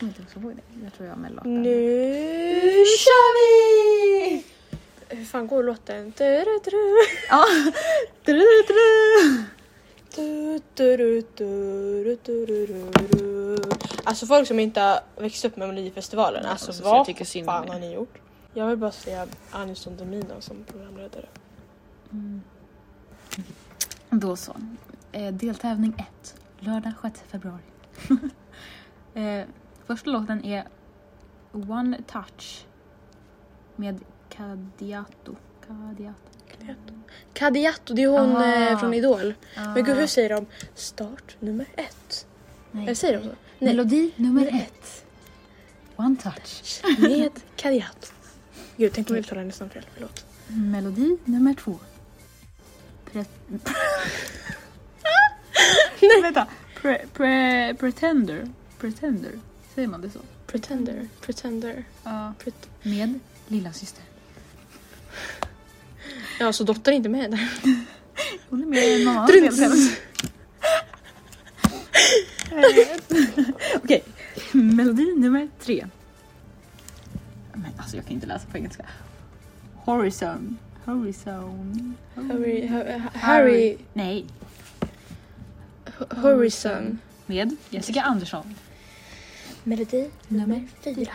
Om inte jag kommer ihåg Mm, det. Jag tror jag har Mello. Nu kör vi! Hur fan går låten? Du, du, du. Ja. Du, du, du. Du, du, du, du, du, du, du, du. Alltså folk som inte har växt upp med Melodifestivalen, alltså alltså, så jag vad tycker synd om fan er. har ni gjort? Jag vill bara säga Anis Don Demina som programledare. Då så. Eh, deltävling 1. Lördag 6 februari. eh, första låten är One Touch med Kadiato. Kadiato. Kadiato, det är hon Aha. eh, från Idol. Ah. Men gud, hur säger de? Start nummer ett. Nej. Eller säger de så? Nej, Ah, Melodi nummer ett. One touch. med Kadiato. Gud, tänk om jag uttalar hennes namn fel. Förlåt. Melodi nummer två. Pre- Vänta. Pre- pre- pretender. Pretender. Säger man det så? Pretender, pretender. Ja. Pret- Med lilla syster. ja, så dotter är inte med där. Jag håller med mamma. Drunt. Okej. Melodi nummer tre. Men alltså jag kan inte läsa på engelska. Horizon. Horizon. Harry, Harry, Harry. Nej. Harrison. Med Jessica Andersson. Melodi nummer fyra.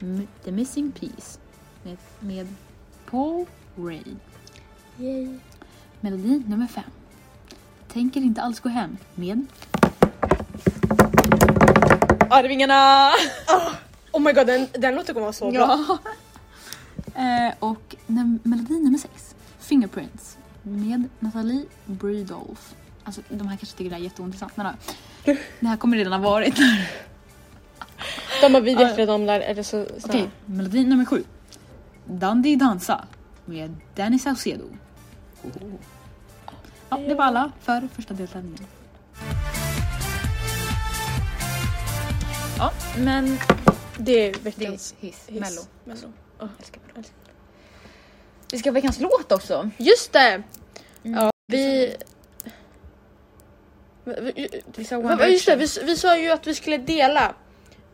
M- The Missing Piece. Med, med Paul Ray. Yay. Melodi nummer fem. Tänker inte alls gå hem. Med Arvingarna! Oh my god, den, den låten kommer vara så bra. Ja. Eh, och num- melodi nummer sex. Fingerprints. Med Nathalie Breedolf. Alltså de här kanske tycker det här är jätteointressant. Men då. det här kommer redan ha varit. De bara, vi Ah. vet redan om det här. Eller så, så Okej, melodi nummer sju. Dandy Dansa med Danny Saucedo. Ja, det var alla för första deltävlingen. Ja, men Det är Det är veckans hiss. hiss. Mello. Mello. Älskar Mello. Vi ska ha veckans låt också. Just det! Mm. Ja, vi... Vi- Vi sa One Va, va, just det, Direction. vi, s- vi sa ju att vi skulle dela.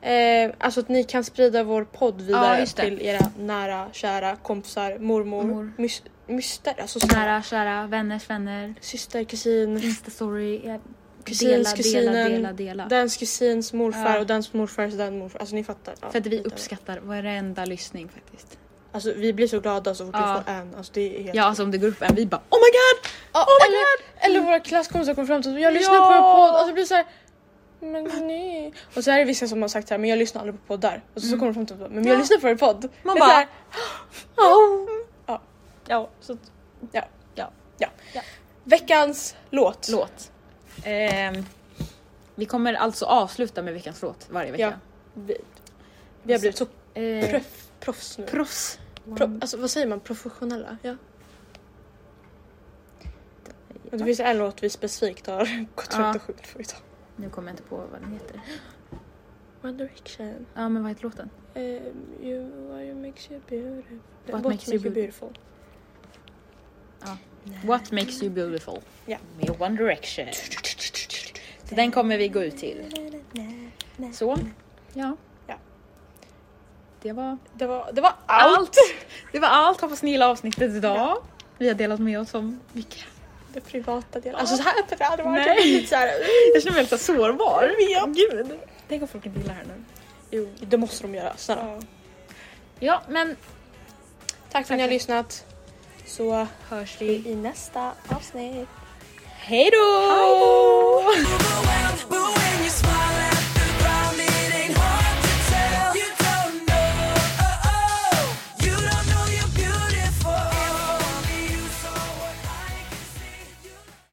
Eh, alltså att ni kan sprida vår podd vidare Ja, just det. till era nära, kära kompisar, mormor, Mor. mys, myster, alltså Nära, kära, vänners vänner, syster, kusin, instastory. eh, Kusins, Dela, dela, kusinen. dela, dela. dens kusins morfar Ja. och dens morfars den morfar. Alltså ni fattar. Ja, För att vi vidare. uppskattar varenda lyssning faktiskt. Alltså vi blir så glada så fort Ja. vi får en. Alltså det är helt... Ja, alltså om det går upp en, vi bara oh my god! Ja, my eller, eller våra klasskompisar kommer fram till oss och jag lyssnar Ja. på en podd och så blir det så här. Men nej. Och så är det vissa som har sagt så här, men jag lyssnar aldrig på poddar. Och så, så kommer de fram till oss och bara, men jag Mm. Ja. lyssnar på en podd. Man Det är bara, så här, Oh. Ja. Ja, så att- ja. Ja. ja. Veckans låt. Låt. Ehm, vi kommer alltså avsluta med veckans låt varje Ja. vecka. Vi, vi har blivit så Eh, proff, proffs nu. proffs. Pro, alltså vad säger man? Professionella? Ja. Och det finns en låt vi specifikt har gått Ja. runt och sjungit på idag. Nu kommer jag inte på vad den heter. One Direction. Ja, men vad heter låten? Um, you, what makes you beautiful? What makes you beautiful? What makes you beautiful? Ja. Med One Direction. Så den kommer vi gå ut till. Så, ja. Ja. Det var Det var, det var allt! allt! Det var allt, hoppas ni gillar avsnittet idag. Vi har delat med oss om mycket. Det privata delen. Alltså så här öppet hade det varit. Nej. Jag blir lite så här, Jag känner mig lite sårbar. Ja. Gud. Tänk om folk inte gillar det här nu. Jo, det måste de göra. Snälla. Ja, men Tack för att ni har lyssnat. Så hörs vi. i nästa avsnitt. Hej då!